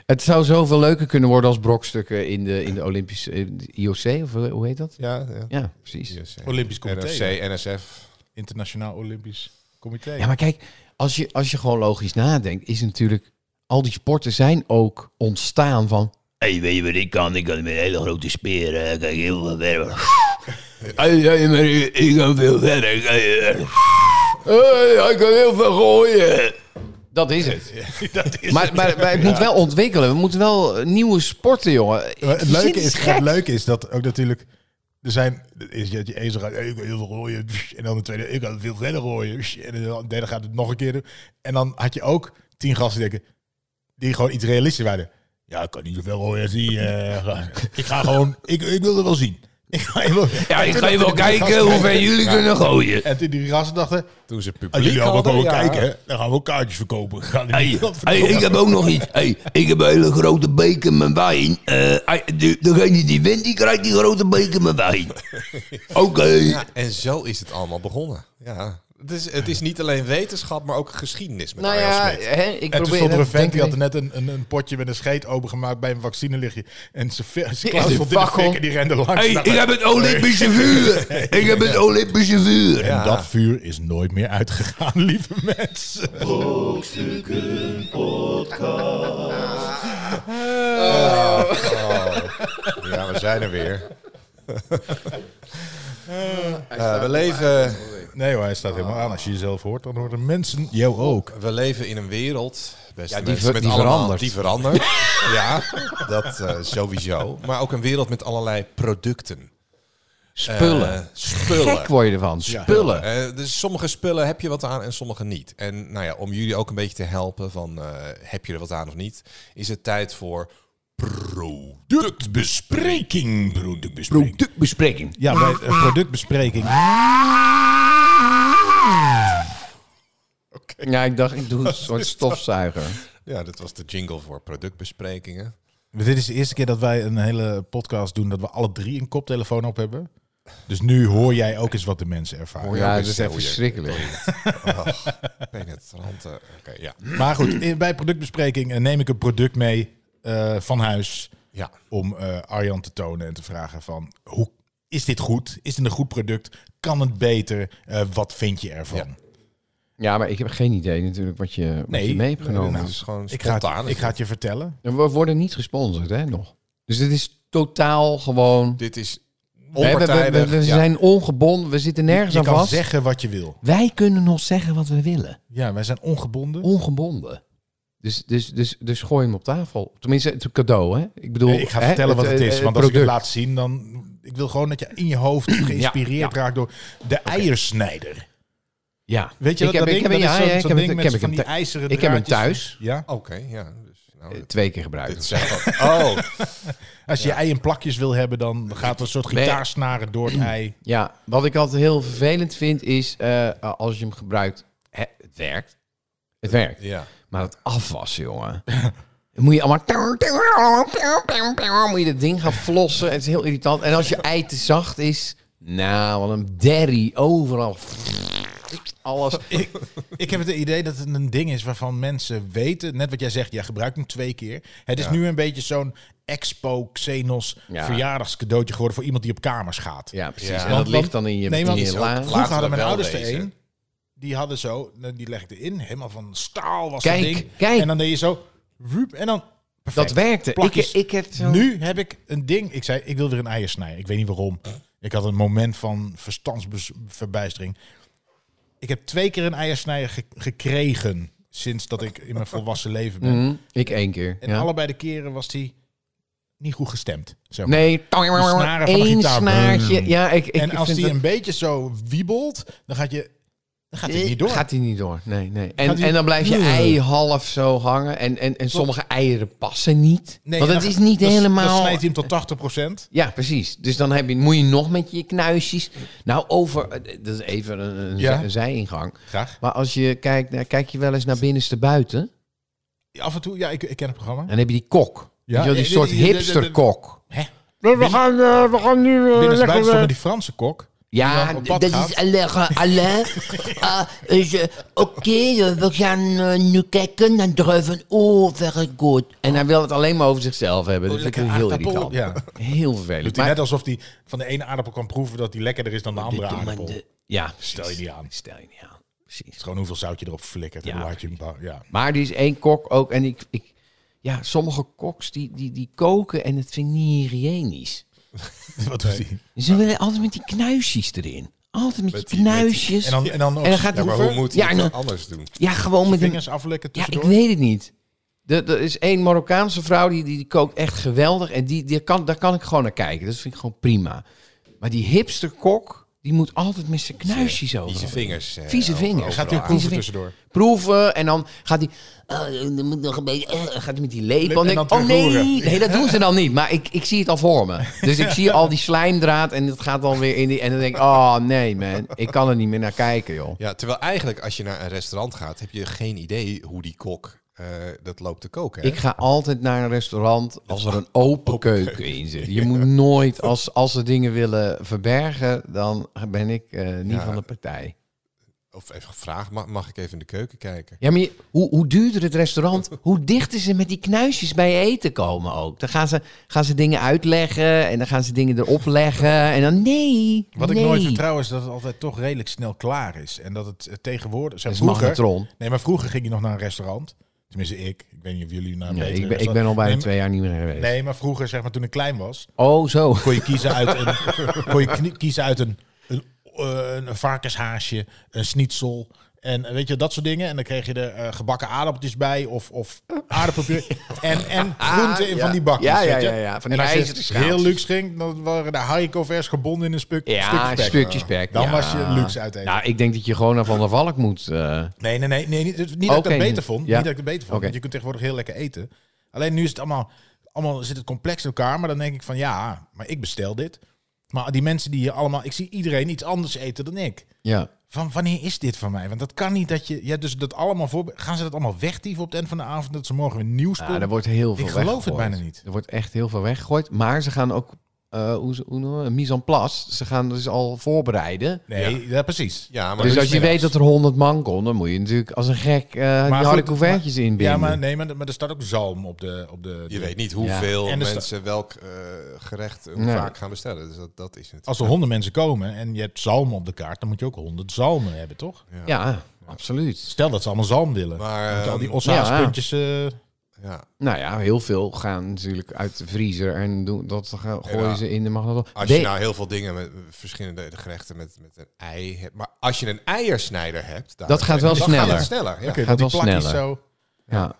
het zou zoveel leuker kunnen worden als brokstukken in de, in de Olympische in de IOC, of eh, hoe heet dat? Ja, ja. Ja, precies. IOC, Olympisch Comité. NOC, NSF. Internationaal Olympisch Comité. Ja, maar kijk, als je, als je gewoon logisch nadenkt, is natuurlijk... Al die sporten zijn ook ontstaan van... Hey, weet je wat ik kan? Ik kan met een hele grote speer. eh, Kijk, heel veel verder. Ik kan veel verder. Ik kan heel veel gooien. Dat is het. maar, maar, maar het moet wel ontwikkelen. We moeten wel eh, nieuwe sporten, jongen. Maar het, Zin leuke is, gek. het leuke is dat ook natuurlijk Er zijn, is je, je eerste gaat, "Hey, ik wil heel veel rooien. En dan de tweede, ik wil veel verder rooien. En dan de derde gaat het nog een keer doen. En dan had je ook tien gasten die denken, die gewoon iets realistisch waren. Ja, ik kan niet zoveel rooien als die. eh, gast. ik ga gewoon, ik, ik wil het wel zien. Ik ga je wel, Ja, En ik toen ga dachten je wel die gasten- kijken hoe ver jullie kunnen gooien. En toen die gasten dachten, Toen ze als publiek jullie allemaal hadden, komen ja. kijken, dan gaan we ook kaartjes verkopen. Gaan we Hey, niet wat hey, verkopen. ik heb ook nog iets. Hey, ik heb een hele grote beker met wijn. Eh, hey, de- degene die wint, die krijgt die grote beker met wijn. Oké. Ja, en zo is het allemaal begonnen. Ja. Het, is, het is niet alleen wetenschap, maar ook geschiedenis met Nou Arjan ja, Smit. hè, En ik toen probeer... stond er een dat vent, die denk had ik- er net een, een, een potje met een scheet opengemaakt bij een vaccinelichtje. En zijn ve- zijn is klauw een stond in de fakkel. fik en die rende langs. Hey, Nou, ik heb het Olympische vuur. Ik heb het Olympische vuur. En Ja. dat vuur is nooit meer uitgegaan, lieve mensen. Oh. Ja, we zijn er weer. Eh, we, leven, Nee hoor, hij staat helemaal aan. Als je jezelf hoort, dan horen mensen jou ook. we leven in een wereld, beste die mensen, ver- met die allemaal- verandert. Die verandert. ja, dat eh, sowieso. Maar ook een wereld met allerlei producten. Spullen. Eh, spullen. Gek word je ervan. Spullen. Eh, dus sommige spullen heb je wat aan en sommige niet. En nou ja, om jullie ook een beetje te helpen van eh, heb je er wat aan of niet, is het tijd voor Productbespreking, productbespreking. Productbespreking. Ja, bij eh, productbespreking. Ja, ik dacht, ik doe een Dus soort stofzuiger. Ja, dat was de jingle voor productbesprekingen. Dit is de eerste keer dat wij een hele podcast doen dat we alle drie een koptelefoon op hebben. Dus nu hoor jij ook eens wat de mensen ervaren. Hoor je Ja, ook dat eens is echt hoe je- verschrikkelijk. Ach, penetrante. eh, Oké, ja. Maar goed, in- bij productbespreking eh, neem ik een product mee eh, van huis. ja. om eh, Arjan te tonen en te vragen van hoe is dit goed? Is dit een goed product? Kan het beter? Eh, wat vind je ervan? Ja. Ja, maar ik heb geen idee natuurlijk wat je, wat Nee, je mee hebt genomen. Nou, het is gewoon Dus Ik, ga spontaan. het, ik ga het je vertellen. We worden niet gesponsord, hè, nog. Dus dit is totaal gewoon... Dit is Nee, we, we- onpartijdig. we- we ja. zijn ongebonden, we zitten nergens je aan kan vast. zeggen wat je wil. Wij kunnen nog zeggen wat we willen. Ja, wij zijn ongebonden. Ongebonden. Dus, dus, dus, dus gooi hem op tafel. Tenminste, het is een cadeau, hè? Ik bedoel, Nee, ik ga hè, vertellen wat het is. eh, Want als ik het product. laat zien, dan... Ik wil gewoon dat je in je hoofd geïnspireerd raakt door de eiersnijder. Ja. Weet je ik dat, dat heb, ik ding? heb, Dat is ja, zo'n- ja, ik zo'n heb, ding het- met ik heb, zo ik van heb, die ijzeren ik heb hem draadjes. thuis Ja, Oké, ja. Dus, nou, eh, dit- twee keer gebruikt. dit zegt wat. Oh, als je je ei in plakjes wil hebben, dan gaat er een soort Nee. gitaarsnaren door het ei. Ja, wat ik altijd heel vervelend vind is eh, als je hem gebruikt, hè, het werkt. Het werkt. ja. Maar het afwassen, jongen. Dan moet je allemaal... Moet je dat ding gaan flossen. Het is heel irritant. En als je ei te zacht is... Nou, wat een derry. Overal. Alles. ik, ik heb het idee dat het een ding is waarvan mensen weten, net wat jij zegt, jij gebruikt hem twee keer. Het is nu een beetje zo'n Expo Xenos Ja. verjaardagscadeautje geworden voor iemand die op kamers gaat. Ja, precies. Ja. En Want- dat ligt dan in je, nee, in want je het is la. dus ook- Vroeger Laten we hadden mijn wel ouders er wezen. één. Die hadden zo, nou, die legde in, helemaal van staal was Kijk, dat ding. kijk. En dan deed je zo, woep, en dan perfect. Dat werkte. Ik, Plakjes. ik heb zo... Nu heb ik een ding. Ik zei, ik wil weer een eier snijden. Ik weet niet waarom. Ik had een moment van verstandsverbijstering. Ik heb twee keer een eiersnijder ge- gekregen sinds dat ik in mijn volwassen leven ben. Mhm, ik één keer. En ja. allebei de keren was die niet goed gestemd. Zo. Nee, snaren van de één gitaar. snaartje. Ja, ik, ik, en ik als vind die dat- een beetje zo wiebelt, dan gaat je dan gaat die Eh, niet door. Gaat hij niet door, nee. nee. En, Gaat die- en dan blijft je Nee. ei half zo hangen. En, en, en sommige eieren passen niet. Nee, want en het dan is ga- niet dan s- Dan helemaal... snijdt hij hem tot 80 procent. Ja, precies. Dus dan heb je, moet je nog met je knuisjes... Nou, over... eh, Dat is even een, een, Ja. zij- een zijingang. Graag. Maar als je kijkt... naar- kijk je wel eens naar binnenste buiten? Af en toe, ja, ik, ik ken het programma. En dan heb je die kok. Ja. Ja. Weet je wel, die Eh, eh, soort eh, eh, eh, hipsterkok. Hè? We gaan, we gaan nu... Binnen buiten stond met eh. die Franse kok. Ja, Die dan op pad dat gaat. is Alain. Alain. Ah, is, eh, Oké, eh, we gaan eh, nu kijken naar druiven. Oh, very good. En hij wil het alleen maar over zichzelf hebben. dus Dat vind ik heel irritant. Ja. Heel Doet vervelend. hij Maar, net alsof hij van de ene aardappel kan proeven dat Oh, die lekkerder is dan de andere doet maar aardappel. de- ja, Stel je precies. niet aan. Het Stel je niet aan. Precies. is gewoon hoeveel zout je erop flikkert. Ja, en hoe hard je hem bouwt. ja. Maar er is één kok ook. En ik, ik, ja, sommige koks die, die, die koken en het vind ik niet hygiënisch. Wat doet hij? Dus Ze willen altijd met die knuisjes erin. Altijd met, Met die die- met die- knuisjes. En dan, en dan, En dan Ja, gaat hij maar hoe moet je Ja, nou, en het dan- anders doen? ja, gewoon met met een vingers aflekken Ja, ik tussendoor. weet het niet. Er, er is één Marokkaanse vrouw die, die, die kookt echt geweldig. En die, die kan, daar kan ik gewoon naar kijken. Dat vind ik gewoon prima. Maar die hipsterkok, die moet altijd met zijn knuisjes over. Vieze vingers. eh, Vieze oh. ook vingers. overal Gaat hij ook aan. proeven tussendoor? proeven. En dan gaat hij. eh, er moet nog een beetje. eh, gaat hij met die lepel. En En denk, ik, dan oh nee, terug roeren. nee, dat doen ze dan niet. Maar ik, ik zie het al voor me. Dus ik zie al die slijmdraad. En dat gaat dan weer in die. En dan denk ik, oh nee, man. Ik kan er niet meer naar kijken, joh. Ja, terwijl eigenlijk als je naar een restaurant gaat, heb je geen idee hoe die kok eh, dat loopt te koken. hè? Ik ga altijd naar een restaurant als er een open keuken in zit. Je moet nooit, als, als ze dingen willen verbergen, dan ben ik eh, niet Ja. van de partij. Of even gevraagd, mag, mag ik even in de keuken kijken? Ja, maar je- hoe, hoe duurder het restaurant, hoe dichter ze met die knuisjes bij je eten komen ook. Dan gaan ze, gaan ze dingen uitleggen en dan gaan ze dingen erop leggen. En dan nee, Wat nee. ik nooit vertrouw is dat het altijd toch redelijk snel klaar is. En dat het eh, tegenwoordig... Dat Zijn is vroeger, magnetron. nee, maar vroeger ging je nog naar een restaurant. Tenminste, ik. Ik weet niet of jullie naar een Nee, betere ik, ben, ik ben restaurant- al bijna Nee, twee jaar niet meer geweest. maar- Nee, maar vroeger, zeg maar toen ik klein was... Oh, zo. kon je kiezen uit een, kon je knie- kiezen uit een, een, eh, een varkenshaasje, een schnitzel. En eh, weet je, dat soort dingen. En dan kreeg je er eh, gebakken aardappeltjes bij of, of aardappelpuree. En, en groenten in Ah, ja. van die bakjes. Ja, ja, weet je. ja, ja, van die en als ijzeren je schaaltjes. heel luxe ging, dan waren de haricot vers gebonden in een stuk, Ja, stukje spek. stukjes pek. Dan ja. was je luxe uit eten. Nou, ik denk dat je gewoon naar Van der Valk moet. eh. Nee, nee, nee. nee niet niet dat ik Oké, dat beter niet. vond. Ja. Niet dat ik het beter vond. Oké. Want je kunt tegenwoordig heel lekker eten. Alleen nu is het allemaal, allemaal zit het complex in elkaar. Maar dan denk ik van ja, maar ik bestel dit. Maar die mensen die hier allemaal, ik zie iedereen iets anders eten dan ik. ja. Van wanneer is dit van mij? Want dat kan niet dat je, ja, dus dat allemaal voor. Gaan ze dat allemaal wegdieven op het eind van de avond dat ze morgen weer nieuw spullen? ja, Ah, er wordt heel veel Ik geloof het weggegooid. bijna niet. Er wordt echt heel veel weggegooid. Maar ze gaan ook, eh hoe, ze- hoe noemen we het? mise en place. Ze gaan dus al voorbereiden. Nee, ja, precies. Ja, maar Dus dat als is je middags. weet dat er 100 man kon, dan moet je natuurlijk als een gek eh die harde goed, couvertjes inbinden. Ja, maar nee, maar, maar er staat ook zalm op de op de. Je weet niet hoeveel En er sta- mensen welk eh, gerecht eh, hoe Nee. vaak gaan bestellen. Dus dat, dat is het. Als er honderd mensen komen en je hebt zalm op de kaart, dan moet je ook honderd zalmen hebben, toch? Ja, absoluut. Stel dat ze allemaal zalm willen. Maar Met al die ehm, ossaaspuntjes. eh, ja, Nou ja, heel veel gaan natuurlijk uit de vriezer en doen, dat gaan- gooien Ja. ze in de magnetron. als je nou heel veel dingen met verschillende gerechten met, met een ei hebt. Maar als je een eiersnijder hebt, daar- Dat gaat wel dan sneller. Gaat het sneller. Ja. oké, gaat die wel plakjes sneller. Zo. ja.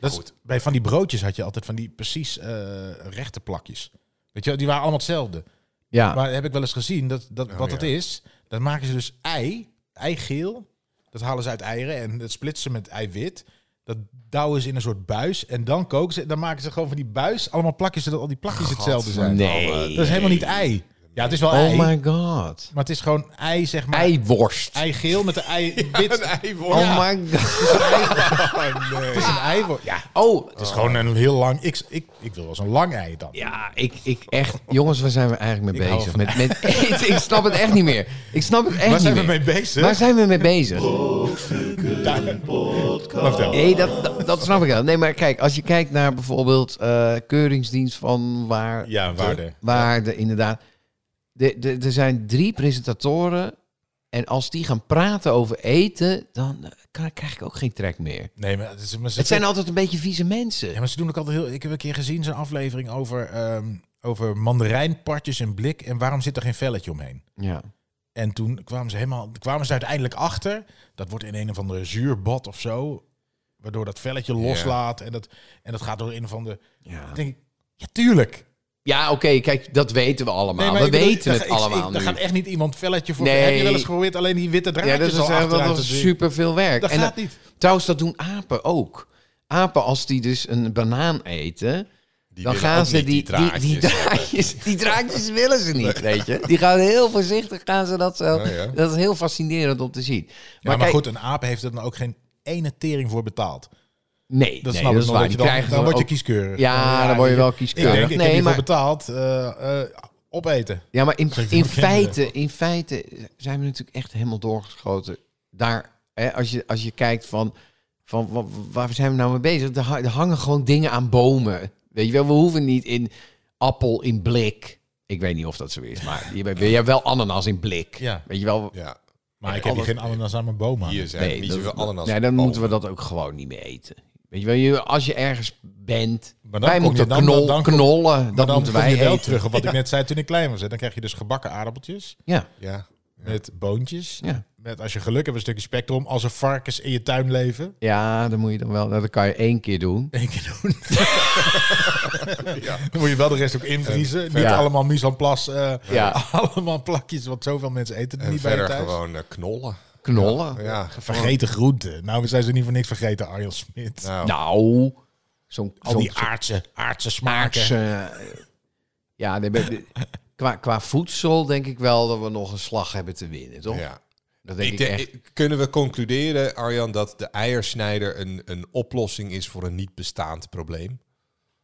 Dat is- Goed. bij van die broodjes had je altijd van die precies eh, rechte plakjes. Weet je, wel, die waren allemaal hetzelfde. Ja. Maar heb ik wel eens gezien dat, dat Oh, wat ja. het is, dan maken ze dus ei, eigeel. Dat halen ze uit eieren en dat splitsen ze met eiwit. Dat douwen ze in een soort buis en dan koken ze. Dan maken ze gewoon van die buis allemaal plakjes, zodat al die plakjes hetzelfde zijn. nee. Dat is helemaal niet ei. Ja, het is wel ei, Oh my god. maar het is gewoon ei, zeg maar. Eiworst. Eigeel met de ei wit. Een eiworst. Oh my god. Het is een eiworst. Ja, Oh, Het is gewoon een heel lang. Ik, ik, ik wil wel zo'n lang ei dan. Ja, ik, ik echt. Jongens, waar zijn we eigenlijk mee Ik hou bezig? Met, met eten? ik snap het echt niet meer. Ik snap het echt Waar zijn niet we meer. mee bezig? Waar zijn we mee bezig? Maar vertel. Nee, dat, dat, dat snap ik wel. Nee, maar kijk, als je kijkt naar bijvoorbeeld eh, keuringsdienst van waar. Ja, waarde. Waarde, inderdaad. De- de- Er zijn drie presentatoren. En als die gaan praten over eten, dan eh, kan- krijg ik ook geen trek meer. Nee, maar, het is- maar ze, Het zijn altijd een beetje vieze mensen. ja, maar ze doen ook altijd heel. Ik heb een keer gezien zo'n aflevering over, ehm over mandarijnpartjes in blik. En waarom zit er geen velletje omheen? Ja. En toen kwamen ze, helemaal, kwamen ze uiteindelijk achter. Dat wordt in een of andere zuurbad of zo. Waardoor dat velletje loslaat. En, dat, en dat gaat door een of andere. Ja, Dan denk ik, ja, tuurlijk. ja oké, kijk, dat weten we allemaal. maar we ik bedoel, weten daar het ga- ik- allemaal ik- nu. Daar gaat echt niet iemand velletje voor. Nee. Heb je wel eens geprobeerd alleen die witte draadjes Ja, dat is al echt achteruit wel te doen? super veel werk. Dat en gaat niet. trouwens, dat doen apen ook. Apen, als die dus een banaan eten, Die dan willen gaan ook ze niet die, die, draadjes. die, draadjes, die draadjes willen ze niet, weet je. Die gaan heel voorzichtig, gaan ze dat zo. Ja, ja. Dat is heel fascinerend om te zien. Maar, Oh Ja, maar kijk, goed, een aap heeft er dan ook geen ene tering voor betaald. nee, Dat snap nee, dat ik is nog. Dat waar. je Die dan, krijgen dan ze word je ook- kieskeurig. Ja, dan word je wel kieskeurig. Ik denk, ik nee, heb hiervoor maar, betaald. eh, eh, op eten. ja, maar in, Zeg ik in, nog kinderen. feite, in feite zijn we natuurlijk echt helemaal doorgeschoten. Daar, hè, als, je, als je kijkt van, van wa- waar zijn we nou mee bezig? Er ha- er hangen gewoon dingen aan bomen. Weet je wel, we hoeven niet in appel in blik. Ik weet niet of dat zo is, maar je hebt- je hebt wel ananas in blik. Ja. Weet je wel, Ja, Maar ik heb hier geen ananas aan mijn boom aan. hier zijn niet zoveel ananas. Nee, dan moeten we dat ook gewoon niet meer eten. Weet je wel, je- als je ergens bent, Maar dan wij kom moeten je- dan- knol, dan- dan kom- knollen, dat dan moeten kom wij je wel eten. terug op wat ik net zei toen ik klein was. Hè. Dan krijg je dus gebakken aardappeltjes. Ja, Ja. met boontjes. Ja. Met als je geluk hebt een stukje spectrum. Als er varkens in je tuin leven. ja, dan moet je dan wel. nou, Dat kan je één keer doen. Eén keer doen. Dan moet je wel de rest ook invriezen. Niet verder- allemaal mise en place. eh, Ja. Allemaal plakjes, want zoveel mensen eten er En niet bij je verder thuis. gewoon eh, knollen. Knollen. Ja, Vergeten groenten. Nou, we zijn ze niet voor niks vergeten, Arjan Smit. nou, Oh. Nou, zo'n Al die eh. aardse, aardse smaken. aardse... Ja, nee, maar de- qua, qua voedsel denk ik wel dat we nog een slag hebben te winnen, toch? ja. Dat denk ik, Ik denk- echt. ik- kunnen we concluderen, Arjan, dat de eiersnijder een, een oplossing is voor een niet bestaand probleem?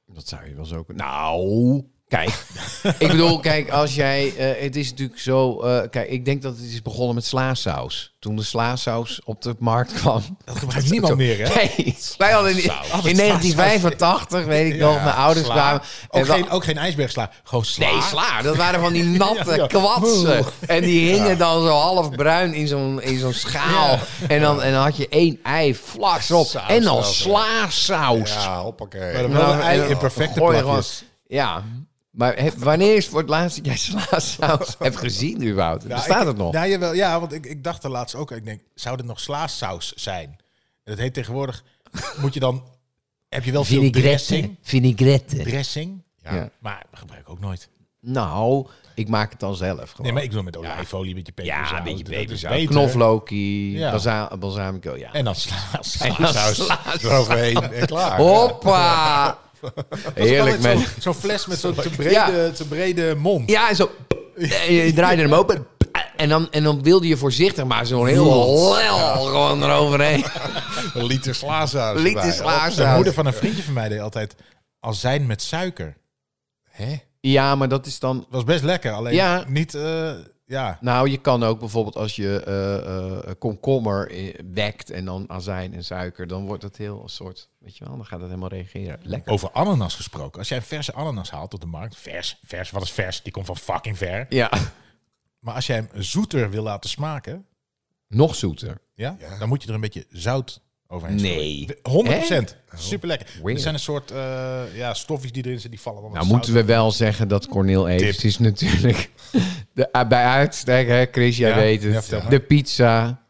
Dat zou je wel zo kunnen. Nou, kijk. ik bedoel, kijk, als jij... eh, het is natuurlijk zo... eh, kijk, ik denk dat het is begonnen met slaasaus. Toen de slaasaus op de markt kwam. Dat gebruikt niemand meer, hè? Nee, wij hadden in, in 1985, weet ik nog, mijn ouders Sla. kwamen... en Ook dan- geen, ook geen ijsbergsla. Gewoon sla. Nee, sla. Dat waren van die natte Ja, ja. kwatsen. En die hingen dan zo half bruin in zo'n, in zo'n schaal. En, dan, en dan had je één ei vlak erop. Saus en dan wel, slaasaus. Ja. Ja, hoppakee. Maar dan Nou, wel een ei en- in perfecte gooi je gewoon- plakjes. ja. Maar he- wanneer is voor het laatst dat jij slaasaus hebt gezien überhaupt? Nou, Bestaat ik- het nog? Nou, jawel, ja, want ik, ik dacht er laatst ook. Ik denk, zou dit nog slaasaus zijn? En dat heet tegenwoordig... moet je dan... Heb je wel veel dressing? Vinaigrette. Dressing? Ja. Ja. Maar gebruik ik ook nooit. Nou, ik maak het dan zelf gewoon. Nee, maar ik doe het met olijfolie, een beetje peperzout. ja, een beetje Dat is peperzout. beter. Knoflookie, Ja. balsa- balsamico, ja. En dan sla, En dan slaasaus. Oh, Eroverheen en klaar. Hoppa! Heerlijk, Zo'n man. zo'n fles met zo'n te, Ja. brede- te brede mond. Ja, en zo. En je draaide hem open. En dan, en dan wilde je voorzichtig, maar zo'n heel lel gewoon eroverheen. Een liter slaasaus Liet erbij. is klaar De moeder van een vriendje van mij deed altijd azijn met suiker. Hè? Ja, maar dat is dan... Was best lekker, alleen Ja. niet... eh, ja. Nou, je kan ook bijvoorbeeld als je eh, eh, komkommer eh, wekt en dan azijn en suiker, dan wordt dat heel een soort... Weet je wel, dan gaat het helemaal reageren. Lekker. Over ananas gesproken. Als jij een verse ananas haalt op de markt... Vers, vers, wat is vers? Die komt van fucking ver. Ja, Maar als jij hem zoeter wil laten smaken... nog zoeter. Ja, Ja. dan moet je er een beetje zout overheen Nee. strooien. 100 procent. Super Weird. Er zijn een soort eh, ja, stofjes die erin zitten, die vallen dan Nou moeten we wel zeggen dat Cornel Evers is natuurlijk de, ah, bij uitstek, hè Chris, jij Ja, weet ja, het. vertel maar. de pizza.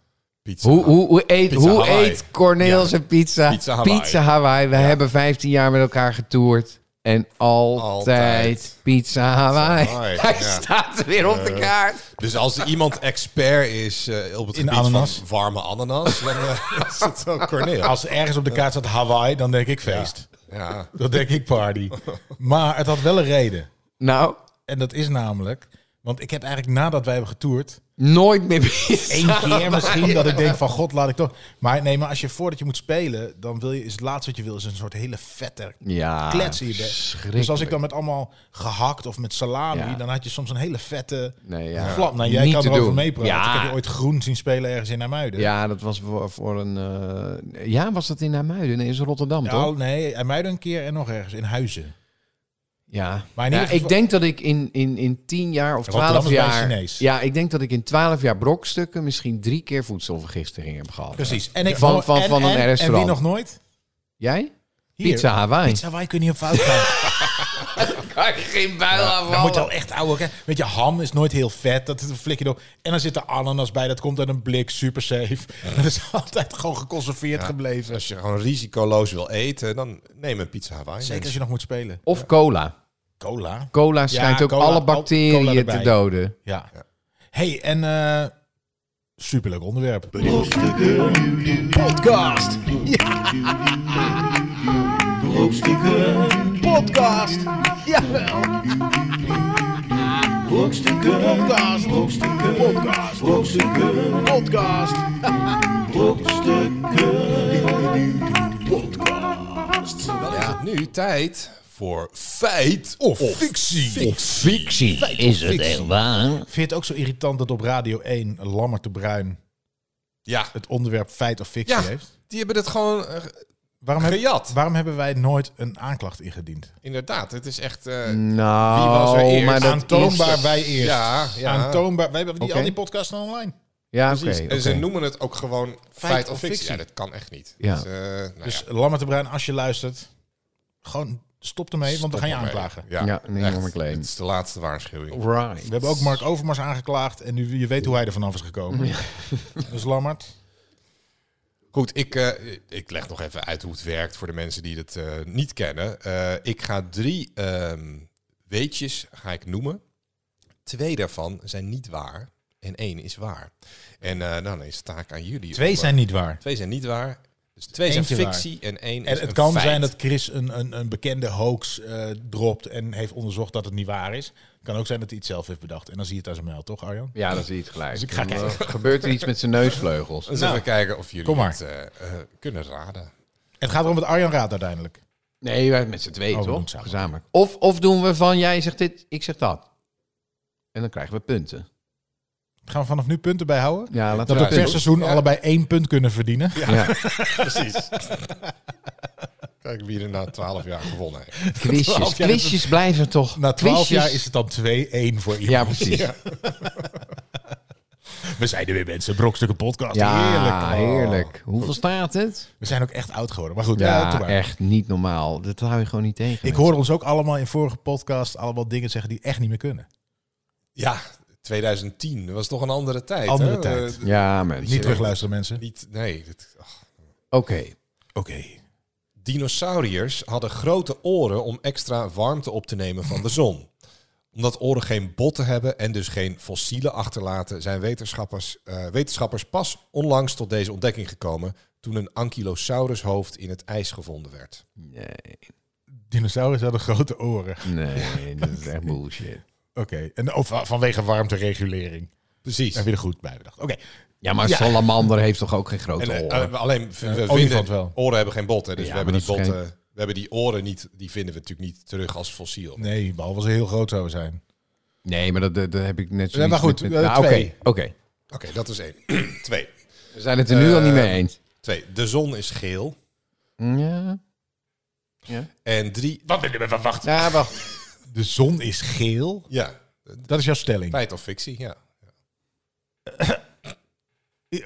Pizza. Hoe, hoe, hoe eet, Pizza hoe Hawaii. eet Cornel zijn pizza? Pizza Hawaii. Pizza Hawaii. We hebben 15 jaar met elkaar getoerd. En altijd, Altijd. Pizza Hawaii. Pizza Hawaii, Hij ja. staat weer op de Eh. kaart. Dus als er iemand expert is eh, op het In gebied ananas. van warme ananas, dan eh, is het wel Corneel. Als er ergens op de kaart staat Hawaii, dan denk ik feest. Ja. Dan denk ik party. Maar het had wel een reden. Nou, En dat is namelijk... Want ik heb eigenlijk nadat wij hebben getoerd... nooit meer pizza. één keer misschien dat ik denk van god laat ik toch. Maar nee, maar als je voordat je moet spelen, dan wil je is het laatste wat je wil is een soort hele vette Ja, klets in je bek. Dus als ik dan met allemaal gehakt of met salami, Ja. dan had je soms een hele vette Nee, ja. flap. Nou, jij Niet kan te erover doen. meepraten. Ja. Ik heb je ooit groen zien spelen ergens in Nijmuiden. Ja, dat was voor, voor een... eh, ja, was dat in Nijmuiden? Nee, is Rotterdam, Ja, toch? al- nee, Nijmuiden een keer en nog ergens in Huizen. Ja, Maar in ieder Ja, geval- ik denk dat ik in, in, in 10 jaar of Rotterdam 12 is bij een jaar. Chinees. Ja, ik denk dat ik in 12 jaar brokstukken misschien drie keer voedselvergiftiging heb gehad. Precies. En ik Van- van- en- van een en- En wie restaurant. nog nooit? Jij? Hier. Pizza Hawaii. Pizza Hawaii kun je niet op fout gaan. Kan ik geen buil aan Dan moet je al echt oude... hè. Weet je, ham is nooit heel vet. Dat flik je erop. En dan zit er ananas bij. Dat komt uit een blik. Super safe. Dat is altijd gewoon geconserveerd gebleven. Als je gewoon risicoloos wil eten, dan neem een pizza Hawaii. Zeker als mensen. je nog moet spelen. Of cola. Cola. Cola schijnt ook cola- alle al- cola bacteriën erbij. Eh, te doden. Ja. Hey, en eh, superleuk onderwerp. Podcast. Brokstukken. Podcast. Jawel. Brokstukken. Podcast. Brokstukken. Podcast. Brokstukken. Podcast. Brokstukken. Podcast. Dan is het nu tijd voor feit of, fictie. Fictie, is het echt waar? Vind je het ook zo irritant dat op Radio 1 Lammert de Bruin Ja. het onderwerp feit of fictie ja, heeft? die hebben het gewoon... eh, Waarom, heb- Gejat. waarom hebben wij nooit een aanklacht ingediend? Oh, inderdaad, het is echt... eh, Mm. Wie was er Nou, eerst? maar dat Aantoonbaar is... wij eerst. Ja, ja. Aantoonbaar. Wij hebben die, Oké. al die podcasts staan online. Ja, oké. Precies. En ze oké. noemen het ook gewoon feit, Feit of of fictie. fictie. Ja, dat kan echt niet. Ja. Dus, eh, nou Dus ja. Lammert de Bruin, als je luistert, gewoon Stop ermee, want we gaan je aanklagen. Ja, Ja, een enorme echt. claim. Het is de laatste waarschuwing. Right. We hebben ook Mark Overmars aangeklaagd en nu, je weet hoe hij er vanaf is gekomen. Dus Lammert. Goed, ik, eh, ik leg nog even uit hoe het werkt voor de mensen die het eh, niet kennen. Eh, ik ga drie ehm, weetjes ga ik noemen. Twee daarvan zijn niet waar en één is waar. En eh, dan is het taak aan jullie. om, Twee eh, zijn niet waar. twee zijn niet waar. Dus twee Eentje zijn waar. fictie en één is En het een kan feit. zijn dat Chris een, een, een bekende hoax eh, dropt en heeft onderzocht dat het niet waar is. Het kan ook zijn dat hij het zelf heeft bedacht. En dan zie je het aan zijn mail, toch Arjan? Ja, dat zie je het gelijk. Dus ik ga Dan, kijken. eh, gebeurt er iets met zijn neusvleugels? Dus Nou, even kijken of jullie kom maar. het eh, eh, kunnen raden. Het gaat erom wat Arjan raadt uiteindelijk. Nee, wij met z'n tweeën, Oh, we doen toch? het samen. Gezamenlijk. Of, of doen we van jij zegt dit, ik zeg dat. En dan krijgen we punten. Gaan we vanaf nu punten bijhouden? Ja, laten Dat we we Ja, per dat- seizoen ja. allebei één punt kunnen verdienen. Ja. Precies. Kijk wie er na twaalf jaar gewonnen heeft. Quizjes, jaar is het- quizjes blijven toch. Na twaalf Quizjes- jaar is het dan 2-1 voor iemand. Ja, precies. Ja. We zijn er weer mensen, brokstukken podcast. Ja, heerlijk. Oh. heerlijk. Hoeveel staat het? We zijn ook echt oud geworden. Maar goed, ja, Ja, doe maar. echt niet normaal. Dat hou je gewoon niet tegen. Ik mensen. hoor ons ook allemaal in vorige podcast allemaal dingen zeggen die echt niet meer kunnen. Ja, 2010. Dat was toch een andere tijd. Andere hè? tijd. Eh, Ja, mensen. Niet terugluisteren, mensen. niet, nee. dit- ach. Oké. Oké. Dinosauriërs hadden grote oren om extra warmte op te nemen van de zon. Omdat oren geen botten hebben en dus geen fossielen achterlaten, zijn wetenschappers, eh, wetenschappers pas onlangs tot deze ontdekking gekomen toen een ankylosaurushoofd in het ijs gevonden werd. Nee, Dinosaurus hadden grote oren. nee, dat is echt bullshit. Oké. En of vanwege warmteregulering. Precies. Daar heb je er goed bij bedacht. Oké. Ja, maar een salamander heeft toch ook geen grote En, eh, oren? eh, alleen v- we olifant vinden wel. oren hebben geen botten, dus Ja, we hebben maar die dat is botten, we hebben die oren niet, die vinden we natuurlijk niet terug als fossiel. Nee, behalve als ze heel groot zouden zijn. Nee, maar dat, dat dat heb ik net zo. Ja, maar goed, eh, Oké, twee. Ah, oké. Oké, dat was één. Twee. we zijn het er nu al Eh, niet mee eens. Hm, Twee. De zon is geel. Ja. En drie. Ja, wacht. De zon is geel. Ja. Dat is jouw stelling. Feit of fictie, ja.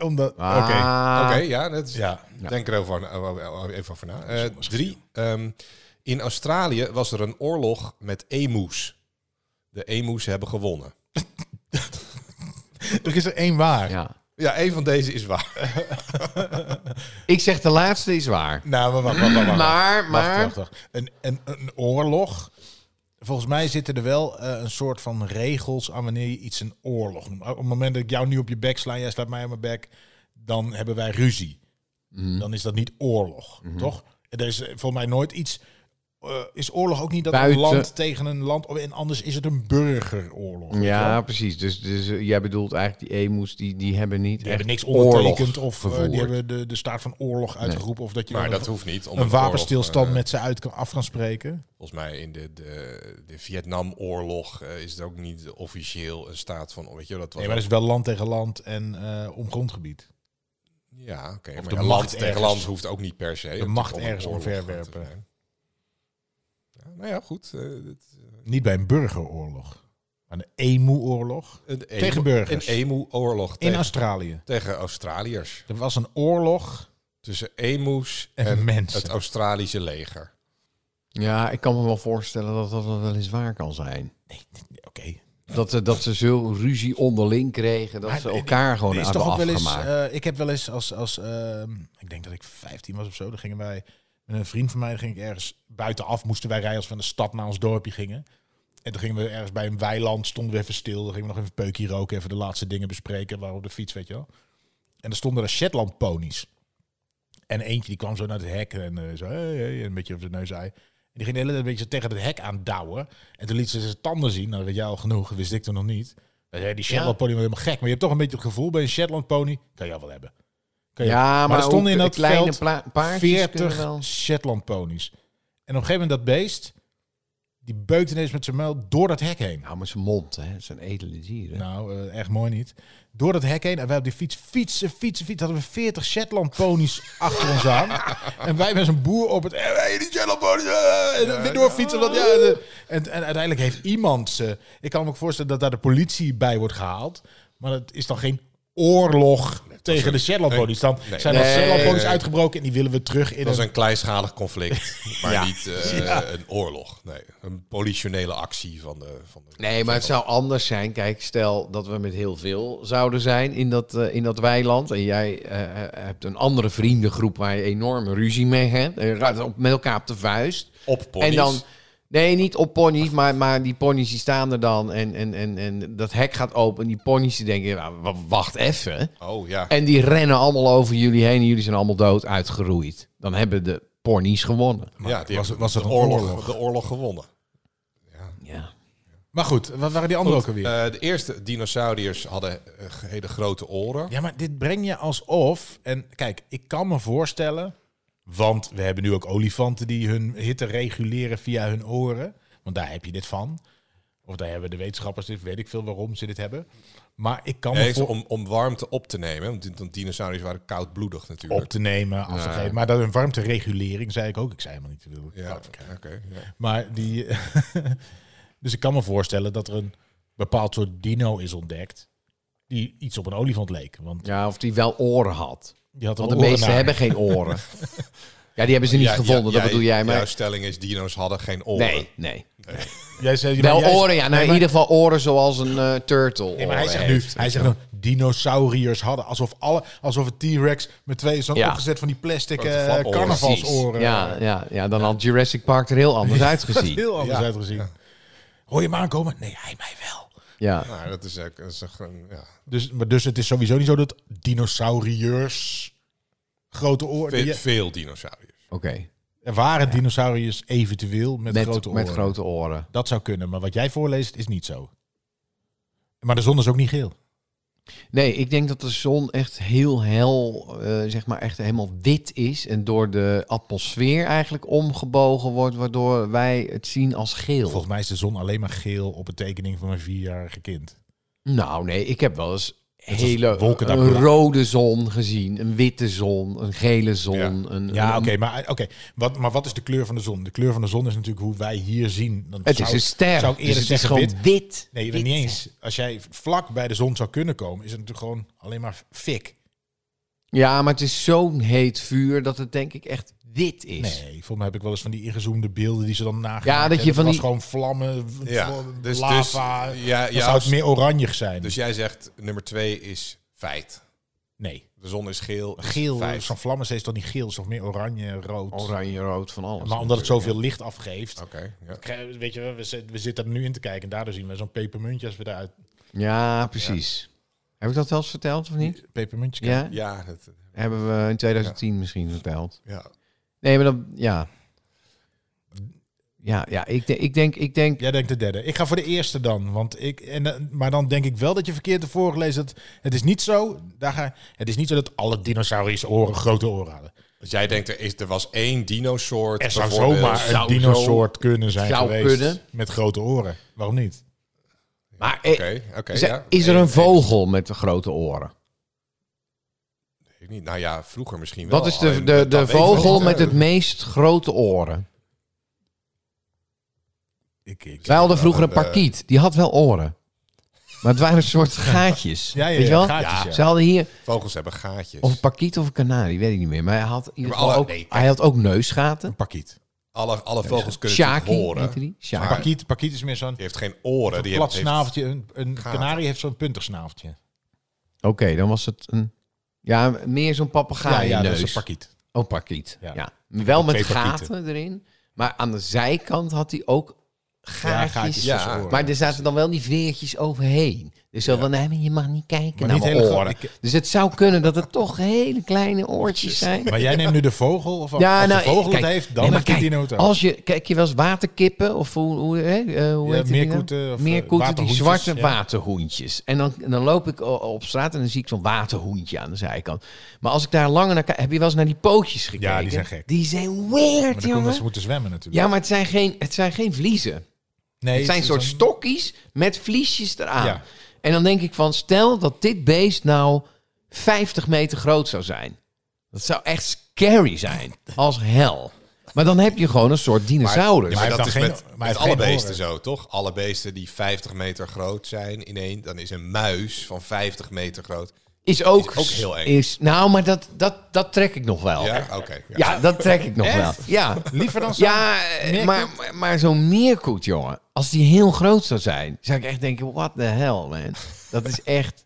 Omdat, Oké. Ah, Oké, ja, dat is, Ja. denk er over, eh, even over na. Eh, drie, ehm, in Australië was er een oorlog met emus. De emus hebben gewonnen. Er is er één waar. Ah, Ja. Ja, één van deze is waar. Ik zeg de laatste is waar. Nou, maar wacht, wacht, wacht, wacht. Maar, Wacht, maar... wacht, wacht. Een, een, een oorlog. Volgens mij zitten er wel eh, een soort van regels aan wanneer je iets een oorlog noemt. Op het moment dat ik jou nu op je bek sla, jij slaat mij op mijn bek, dan hebben wij ruzie. Mhm. Dan is dat niet oorlog, toch? En Er is eh, volgens mij nooit iets. eh, is oorlog ook niet dat Buiten- een land tegen een land. of- En anders is het een burgeroorlog. weet je wel? Ja, precies. Dus, dus eh, jij bedoelt eigenlijk die emus, die, die hebben niet Die echt hebben niks oorlog ondertekend of eh, gevoerd. die hebben de, de staat van oorlog uitgeroepen. Of dat je Maar dan dat hoeft niet. Om een oorlog, wapenstilstand eh, met ze uit kan, af kan spreken. Volgens mij in de, de, de Vietnamoorlog eh, is er ook niet officieel een staat van... Weet je, wel, dat was Nee, maar dat is wel land tegen land en eh om grondgebied. Ja, oké. maar de ja, macht land tegen ergens- land hoeft ook niet per se. natuurlijk macht om ergens een oorlog omverwerpen. te zijn. Ja, nou ja, goed. eh, het- Niet bij een burgeroorlog, maar een emu-oorlog een emu- Tegen burgers. Een emu-oorlog in tegen, Australië. tegen Australiërs. Er was een oorlog Tussen emus en, en mensen. het Australische leger. Ja, ik kan me wel voorstellen dat dat wel eens waar kan zijn. Nee, nee, Oké. Dat, ze- dat ze zo ruzie onderling kregen, dat Maar ze nee, elkaar gewoon Er is hadden toch ook wel eens. afgemaakt. eh, ik heb wel eens als. als ehm, ik denk dat ik 15 was of zo. Dan gingen wij. Met een vriend van mij dan ging ik ergens buitenaf. Moesten wij rijden als we van de stad naar ons dorpje gingen. En toen gingen we ergens bij een weiland. Stonden we even stil. Dan gingen we nog even peukje roken. Even de laatste dingen bespreken. Waar op de fiets, weet je wel. En er stonden er Shetland ponies. En eentje die kwam zo naar het hek. En eh, zo. Hey, hey, en een beetje op zijn neus zei. En die ging de hele tijd een beetje zo tegen het hek aan douwen. En toen liet ze zijn tanden zien. Nou, dat weet jij al genoeg. Dat wist ik toen nog niet. Hij zei, die Shetland pony was helemaal gek. Maar je hebt toch een beetje het gevoel bij een Shetland pony. Kan je wel hebben. Kan je- ja, maar, eh, er stonden ook in dat kleine veld pla- paardjes kunnen 40 wel... Shetland ponies. En op een gegeven moment dat beest. Die beukt ineens met zijn muil door dat hek heen. Nou, met zijn mond, hè. Het zijn edele dieren. Nou, eh, echt mooi niet. Door dat hek heen. En wij op die fiets fietsen, fietsen, fietsen. Hadden we 40 Shetland ponies achter ons aan. En wij met zo'n boer op het... eh, hey, die Shetland ponies! eh, en weer doorfietsen. want ja, de- en, en uiteindelijk heeft iemand ze... Ik kan me ook voorstellen dat daar de politie bij wordt gehaald. Maar dat is dan geen oorlog tegen de Shetlandponies. Dan nee. zijn er Nee. Shetlandponies uitgebroken en die willen we terug in Dat is een... een kleinschalig conflict, maar niet eh, een oorlog. Nee, een politionele actie van de... Van de Nee, maar het zou anders zijn. Kijk, stel dat we met heel veel zouden zijn in dat, eh, in dat weiland. En jij eh, hebt een andere vriendengroep waar je enorme ruzie mee hebt. En je gaat op, met elkaar op de vuist. Op ponies. En dan, nee, niet op ponies, maar, maar die ponies die staan er dan. En, en, en, en dat hek gaat open. En die ponies die denken, "Ja, w- wacht even. Oh ja. En die rennen allemaal over jullie heen. En jullie zijn allemaal dood uitgeroeid. Dan hebben de ponies gewonnen. ja die was- hebben was het de een oorlog, oorlog? De oorlog gewonnen. Ja. Maar goed, wat waren die anderen ook alweer? Eh, de eerste dinosauriërs hadden eh, hele grote oren. Ja, maar dit breng je alsof. En kijk, ik kan me voorstellen. Want we hebben nu ook olifanten die hun hitte reguleren via hun oren. Want daar heb je dit van. Of daar hebben de wetenschappers dit. Weet ik veel waarom ze dit hebben. Maar ik kan me Nee, voor om, om warmte op te nemen. Want die- die dinosauriërs waren koudbloedig natuurlijk. op te nemen, af te geven. Maar dat hun warmteregulering, zei ik ook. Ik zei helemaal niet. te willen. ja, oké. ja. Maar die. dus ik kan me voorstellen dat er een bepaald soort dino is ontdekt. Die iets op een olifant leek. Want ja, of die wel oren had. die had er Want de oren meesten naar. hebben geen oren. ja, die hebben ze niet Ja, gevonden, ja, dat ja, bedoel jij. Maar Jouw stelling is, dino's hadden geen oren. nee, nee. Jij zei, Wel maar jij- oren, ja. Nou, Nee, in maar- ieder geval oren zoals een eh, turtle. Nee, maar hij oren zegt nu, heeft. hij zegt dan, dinosauriërs hadden. Alsof, alle, alsof een T-Rex met twee zo'n Ja. opgezet van die plastic Grote oh, eh, flaporen. carnavalsoren. eh, Ja, ja, ja, dan had Jurassic Park er heel anders uitgezien. Heel anders Ja. uitgezien. Hoor je hem aankomen? Nee, hij mij wel. Ja. Nou, dat is, ook- dat is echt een- ja. Dus, maar dus het is sowieso niet zo dat dinosauriërs grote oren... Ve- die- Veel dinosauriërs. Oké, er waren dinosauriërs eventueel met, met, grote oren. met grote oren. Dat zou kunnen, maar wat jij voorleest is niet zo. Maar de zon is ook niet geel. Nee, ik denk dat de zon echt heel hel, eh, zeg maar echt helemaal wit is. En door de atmosfeer eigenlijk omgebogen wordt, waardoor wij het zien als geel. Volgens mij is de zon alleen maar geel op een tekening van mijn vierjarige kind. Nou, nee, ik heb wel eens is hele wolken daar een blauw. rode zon gezien, een witte zon, een gele zon. Ja. Een, Ja, een- oké, maar, eh, oké wat, maar wat is de kleur van de zon? De kleur van de zon is natuurlijk hoe wij hier zien. Dan Het zou is ik- een ster. Zou ik dus eerder het is zeggen gewoon wit? wit. Nee, Wit. niet eens. Als jij vlak bij de zon zou kunnen komen, is het natuurlijk gewoon alleen maar fik. Ja, maar het is zo'n heet vuur dat het denk ik echt wit is. Nee, volgens mij heb ik wel eens van die ingezoomde beelden die ze dan nagemaakt Ja, dat je hebben. van was die- gewoon vlammen, v- Ja, v- dus- lava. dus- ja, dan ja, zou het als- meer oranjig zijn. Dus jij zegt, nummer twee is feit. nee, De zon is geel. is geel. feit. Zo'n vlammen is toch niet geel, is toch meer oranje, rood. Oranje, rood, van alles. maar omdat het zoveel licht afgeeft. Oké, ja. krijg- Weet je, wel, we, zit- we zitten er nu in te kijken en daardoor zien we zo'n pepermuntje als we daaruit. Ja, precies. Heb ik dat wel eens verteld of niet? Pepermuntje Ja? Ja, dat, Hebben we in 2010 misschien verteld. ja. Nee, maar dan... Ja. Ja, ja ik, de- ik denk... Ik denk Jij denkt de derde. Ik ga voor de eerste dan. Want ik, en, eh, maar dan denk ik wel dat je verkeerd hebt voorgelezen. Dat, het is niet zo. Daar ga, het is niet zo dat alle dinosauriërs oren grote oren hadden. Dus jij denkt, er, is, er was één dinosoort. Er zou bijvoorbeeld. zomaar een Zou dinosoort kunnen zijn Zou geweest. kunnen. Met grote oren. Waarom niet? maar eh, Oké, oké. ze- ja. is er Eén- een vogel met de grote oren? één- weet ik niet. Nou ja, vroeger misschien wel. Wat is de, alleen de, dat de weten we vogel niet. met het meest grote oren? Ik, ik. Wij hadden vroeger een eh, parkiet. Die had wel oren. Maar het waren een soort gaatjes. Ja, ja, weet je ja, wel? gaatjes, ja. Ze hadden hier... Vogels hebben gaatjes. Of een parkiet of een kanarie, weet ik niet meer. Maar hij had, in ieder maar geval alle- ook, nee, hij had ook neusgaten. Pakiet. alle, alle vogels kunnen het Shaki, horen. heette Die die? Shaki. Maar- Pakiet, pakiet is meer zo'n heeft geen oren. Die plat heeft, heeft, snaveltje. Een, een gaten. kanarie heeft zo'n puntig snaveltje. Oké, dan was het een... Ja, meer zo'n papegaai ja, dat neus. is een pakiet. Oh, parkiet. Ja. Ja. Wel met Twee parkieten. gaten erin. Maar aan de zijkant had hij ook Ja, gaatjes. gaatjes Ja, tussen oren. Maar er zaten dan wel die veertjes overheen. Dus zo van, nee, maar je mag niet kijken Maar naar niet mijn hele oren. grote- ik- Dus het zou kunnen dat het toch hele kleine oortjes zijn. Maar jij neemt nu de vogel. Of Oh, als de vogel nou, kijk, het heeft, dan nee, maar heeft die kijk, dino het ook. Als je, kijk je wel eens waterkippen of hoe, hoe, hè, eh, hoe Ja, heet die nou? meerkoeten of, eh, Meerkoeten, die waterhoentjes, zwarte ja. waterhoentjes. En dan, dan loop ik o- op straat en dan zie ik zo'n waterhoentje aan de zijkant. Maar als ik daar langer naar kijk, heb je wel eens naar die pootjes gekeken? Ja, die zijn gek. Die zijn Maar weird, dan komt dat jongen. ze moeten zwemmen natuurlijk. Ja, maar het zijn geen, het zijn geen vliezen. nee, Het zijn een soort is een- stokjes met vliesjes eraan. Ja. En dan denk ik van, stel dat dit beest nou 50 meter groot zou zijn. Dat zou echt scary zijn. Als hel. Maar dan heb je gewoon een soort dinosaurus. Maar Maar hij dat is heeft dan met, geen- maar met hij heeft alle geen beesten oren. zo, toch? Alle beesten die 50 meter groot zijn in één, dan is een muis van 50 meter groot Is ook, Is ook heel eng. Is, nou, maar dat, dat, dat trek ik nog wel. Ja, Ja, oké. ja. dat trek ik nog wel. Ja, Liever dan zo. ja eh, maar, maar, maar zo'n meerkoet, jongen. Als die heel groot zou zijn, zou ik echt denken, what the hell, man. Dat is echt...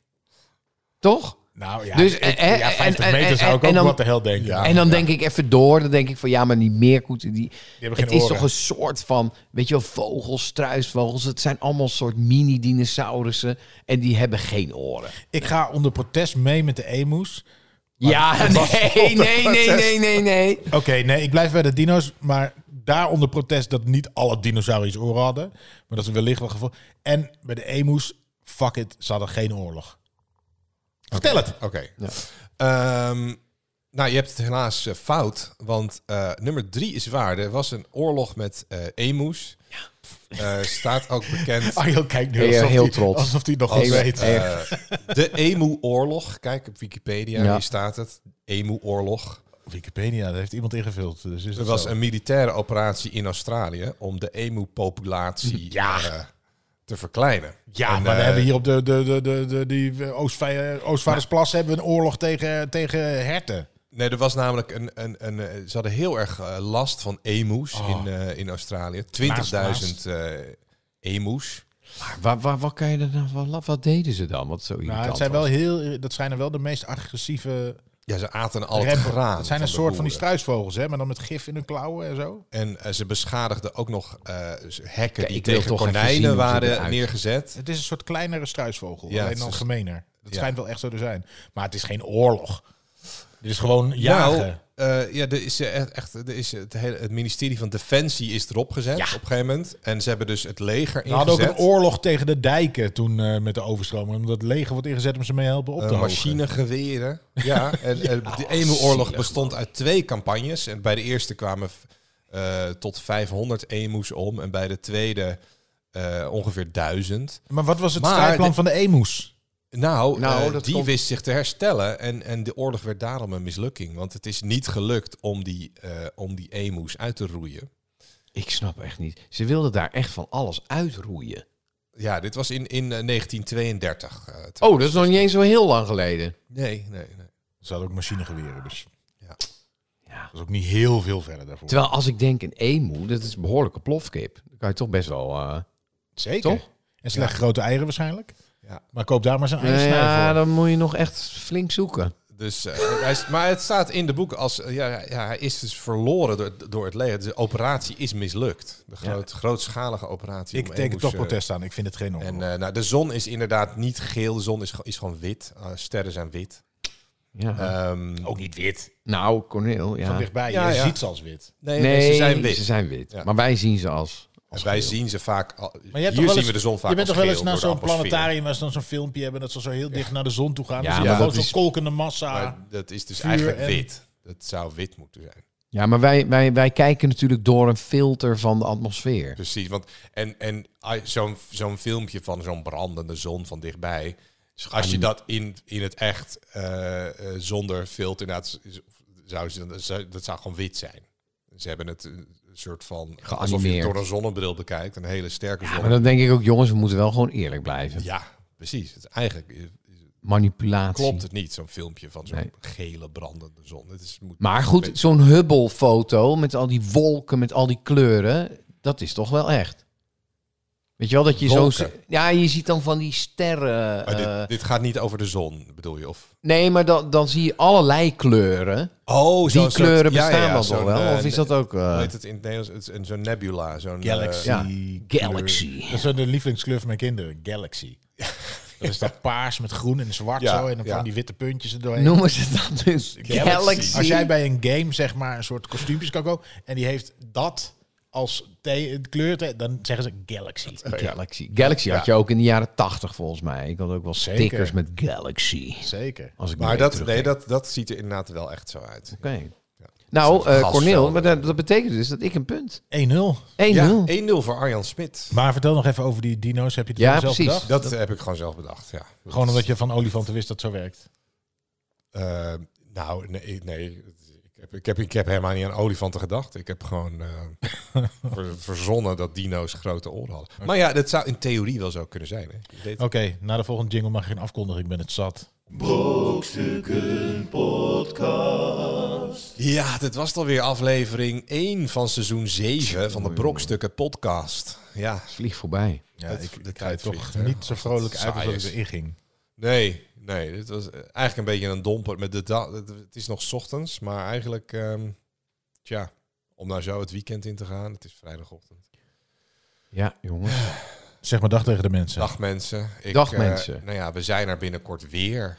Toch? Nou ja, Dus, ik- eh, ja eh, 50 en- meter en- zou ik en- en ook dan- wat de hel denken. Ja. en dan denk ik even door. Dan denk ik van ja, maar die meerkoeten. Die, hebben het geen is oren. toch een soort van. Weet je wel, vogels, struisvogels. Het zijn allemaal soort mini-dinosaurussen. En die hebben geen oren. Ik ga onder protest mee met de emoes. ja, nee, nee, nee, nee, nee, nee. Oké, nee, ik blijf bij de dino's. Maar daar onder protest dat niet alle dinosauriërs oren hadden. Maar dat ze wellicht wel gevoel. En bij de emoes, fuck it, ze hadden geen oorlog. Vertel het. Oké. Ehm, nou, je hebt het helaas eh, fout, want eh, nummer drie is waar. Er was een oorlog met eh emus. Eh, staat ook bekend Arjo kijkt nu Ja, alsof heel hij- trots. Alsof hij nog als wat Oh, weet. eh, de Emu-oorlog. Kijk op Wikipedia, Ja. hier staat het. Emu-oorlog. Wikipedia, daar heeft iemand ingevuld. Dus is Er dat was zo? een militaire operatie in Australië om de emu-populatie Ja. eh, te verkleinen. Ja, En, maar dan eh, hebben we hier op de, de, de, de, de die Oostvij- Oostvaardersplas hebben we een oorlog tegen, tegen herten. Nee, er was namelijk een... een, een eh, ze hadden heel erg eh, last van emus in, eh, in Australië. 20.000 eh emus. Waar, waar, wat kan je er nou van Wat deden ze dan? Wat zo Nou, irritant het zijn was? wel heel, dat zijn er wel de meest agressieve Ja, ze aten al het reppen. graan. Het zijn een de soort van die boeren. struisvogels, hè, maar dan met gif in hun klauwen en zo. En eh, ze beschadigden ook nog eh, hekken die ik wil tegen toch even zien konijnen hoe het waren eruit- neergezet. Het is een soort kleinere struisvogel, Ja, alleen het dan is- gemener. Dat ja. schijnt wel echt zo te zijn. Maar het is geen oorlog. Dit is gewoon jagen. Nou, eh, ja, er is eh, echt, echt er is het, hele, het ministerie van Defensie is erop gezet op een gegeven moment. En ze hebben dus het leger we hadden ook ingezet. een oorlog tegen de dijken toen eh, met de overstroming. Omdat het leger wordt ingezet om ze mee te helpen op te Eh, hogen. machinegeweren. Ja, en, en de Emu-oorlog bestond uit twee campagnes. En bij de eerste kwamen eh, tot 500 Emu's om. En bij de tweede eh, ongeveer 1000. Maar wat was het Maar strijdplan de- van de emoes? Nou, Nou, eh, dat die komt- wist zich te herstellen. En, en de oorlog werd daarom een mislukking. Want het is niet gelukt om die, eh, om die Emu's uit te roeien. Ik snap echt niet. Ze wilden daar echt van alles uitroeien. Ja, dit was in, in eh, 1932. eh, twa- Oh, dat is nog niet eens zo heel lang geleden. Nee, nee, nee. Ze hadden ook machinegeweren, dus Ja. Ja. dat is ook niet heel veel verder daarvoor. Terwijl als ik denk een emu, dat is een behoorlijke plofkip. Dan kan je toch best wel... eh, Zeker. Toch? En slecht grote eieren waarschijnlijk. Ja. Maar koop daar maar zo'n Nou eiersnij ja, voor. dan moet je nog echt flink zoeken. Dus, eh, hij is- maar het staat in de boek als eh, ja, ja, hij is dus verloren door, door het leger. De operatie is mislukt. De groot, grootschalige operatie. om Ik teken Emus, toch eh, protest aan. Ik vind het geen oorlog. En eh, nou, de zon is inderdaad niet geel. De zon is, ge- is gewoon wit. Eh, sterren zijn wit. Ja. Ehm, ook niet wit. nou, Corneel, ja. Van dichtbij. Ja, je ja. ziet ze als wit. nee, nee, ze zijn wit. Ze zijn wit. Ja. Maar wij zien ze als... En wij zien ze vaak. Al, Maar hier je hebt toch wel zien eens, we de zon vaak. Je bent als toch wel geel eens naar door de zo'n atmosfeer. planetarium waar ze dan zo'n filmpje hebben dat ze zo heel dicht naar de zon toe gaan. Ja, Ja, eh, maar maar dat gewoon is- zo'n kolkende massa. Maar dat is dus Vuur eigenlijk en- wit. Dat zou wit moeten zijn. Ja, maar wij, wij, wij kijken natuurlijk door een filter van de atmosfeer. Precies, want en, en ah, zo'n zo'n filmpje van zo'n brandende zon van dichtbij. Als je dat in, in het echt eh, eh, zonder filter, nou, het is- zou, ze- dat zou- dat zou gewoon wit zijn. Ze hebben het eh, een soort van alsof je het Geanimeerd. door een zonnebril bekijkt, een hele sterke zon. Ja, Maar dan denk ik ook, jongens, we moeten wel gewoon eerlijk blijven. precies. Het, eigenlijk eh, Manipulatie. klopt het niet, zo'n filmpje van zo'n Nee. gele brandende zon. Het is, moet, Maar goed, zo'n Hubble-foto met al die wolken, met al die kleuren, dat is toch wel echt. Weet je wel, dat je zo... Wolken. Ja, je ziet dan van die sterren... Maar eh, dit, dit gaat niet over de zon, bedoel je? Of nee, maar dan, dan zie je allerlei kleuren. Oh, Die zo'n soort- kleuren ja, ja, bestaan dan zo'n, toch wel? eh, of is dat ook... eh, Hoe heet het in het Nederlands? Het is een- Zo'n nebula. Zo'n, eh, Galaxy. ja. kleur. Galaxy. Dat is wel de lievelingskleur van mijn kinderen. Galaxy. Dat is dat paars met groen en zwart Ja, zo. En dan ja. van die witte puntjes erdoorheen. Noemen ze dat dus Galaxy. Galaxy? Als jij bij een game zeg maar een soort kostuumpjes kan kopen en die heeft dat als the- kleur, te- dan zeggen ze Galaxy. Galaxy. Galaxy had je ook in de jaren tachtig volgens mij. Ik had ook wel Zeker. stickers met Galaxy. Zeker. Als ik maar nu dat, even nee, terugdenk. dat, dat ziet er inderdaad wel echt zo uit. Oké. Nou, eh gasvelden. Corneel, maar dat, dat betekent dus dat ik een punt. 1-0. 1-0. Ja, 1-0 voor Arjan Smit. Maar vertel nog even over die dino's. Heb je het Ja, ja, zelf precies. bedacht? Dat, heb ik gewoon zelf bedacht, ja. Gewoon omdat je van olifanten wist dat het zo werkt. Eh, nou, nee, nee ik, heb, ik, heb, ik heb helemaal niet aan olifanten gedacht. Ik heb gewoon eh, ver- verzonnen dat dino's grote oren hadden. Maar ja, dat zou in theorie wel zo kunnen zijn. Hè. Je weet- Oké, na de volgende jingle mag je een afkondiging. Ik ben het zat. Brokstukken Podcast. Ja, dit was dan weer aflevering 1 van seizoen 7 van de Brokstukken podcast. Ja, Vlieg voorbij. Ja, Het- ik, de ik tijd ga toch vliegt, hè? niet zo vrolijk uit als Saai dat ik is. erin ging. nee, nee, dit was eh, eigenlijk een beetje een domper. Met de da- het- het is nog 's ochtends, maar eigenlijk, ehm, tja, om nou zo het weekend in te gaan, het is vrijdagochtend. Ja, jongens. Zeg maar dag tegen de mensen. Dag mensen. Ik, Dag, eh, mensen. Nou ja, we zijn er binnenkort weer.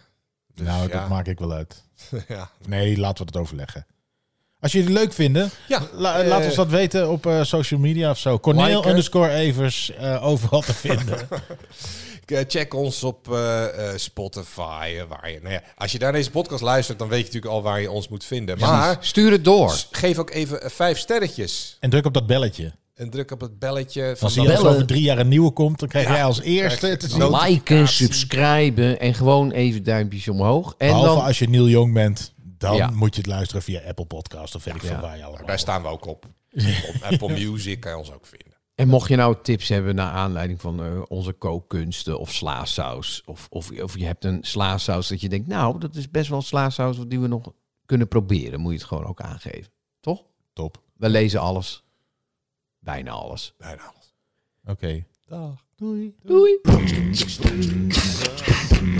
Dus nou, ja, dat maak ik wel uit. ja. Nee, laten we het overleggen. Als jullie het leuk vinden, Ja, la- eh, laat ons dat weten op eh, social media of zo. Corneel Liken. underscore Evers, eh, overal te vinden. Eh, Check ons op eh, eh, Spotify. eh, waar je, nou ja, als je naar deze podcast luistert, dan weet je natuurlijk al waar je ons moet vinden. Maar Stuur het door. s- geef ook even eh, vijf sterretjes. en druk op dat belletje. En druk op het belletje. Van Als dat hier bellen. over drie jaar een nieuwe komt, dan krijg jij als eerste te zien. nood- Liken, subscriben en gewoon even duimpjes omhoog. En Behalve dan, als je Neil Jong bent, dan Ja. moet je het luisteren via Apple Podcast of weet ik veel Ja. waar je allemaal. Daar staan we ook op. op Apple Music kan je ons ook vinden. en mocht je nou tips hebben naar aanleiding van eh, onze kookkunsten of slaasaus. Of, of, of je hebt een slaasaus dat je denkt, nou, dat is best wel slaasaus die we nog kunnen proberen. Moet je het gewoon ook aangeven. Toch? Top. We lezen alles. Bijna alles. Bijna alles. Oké. Dag. nou. Doei. Brokstukken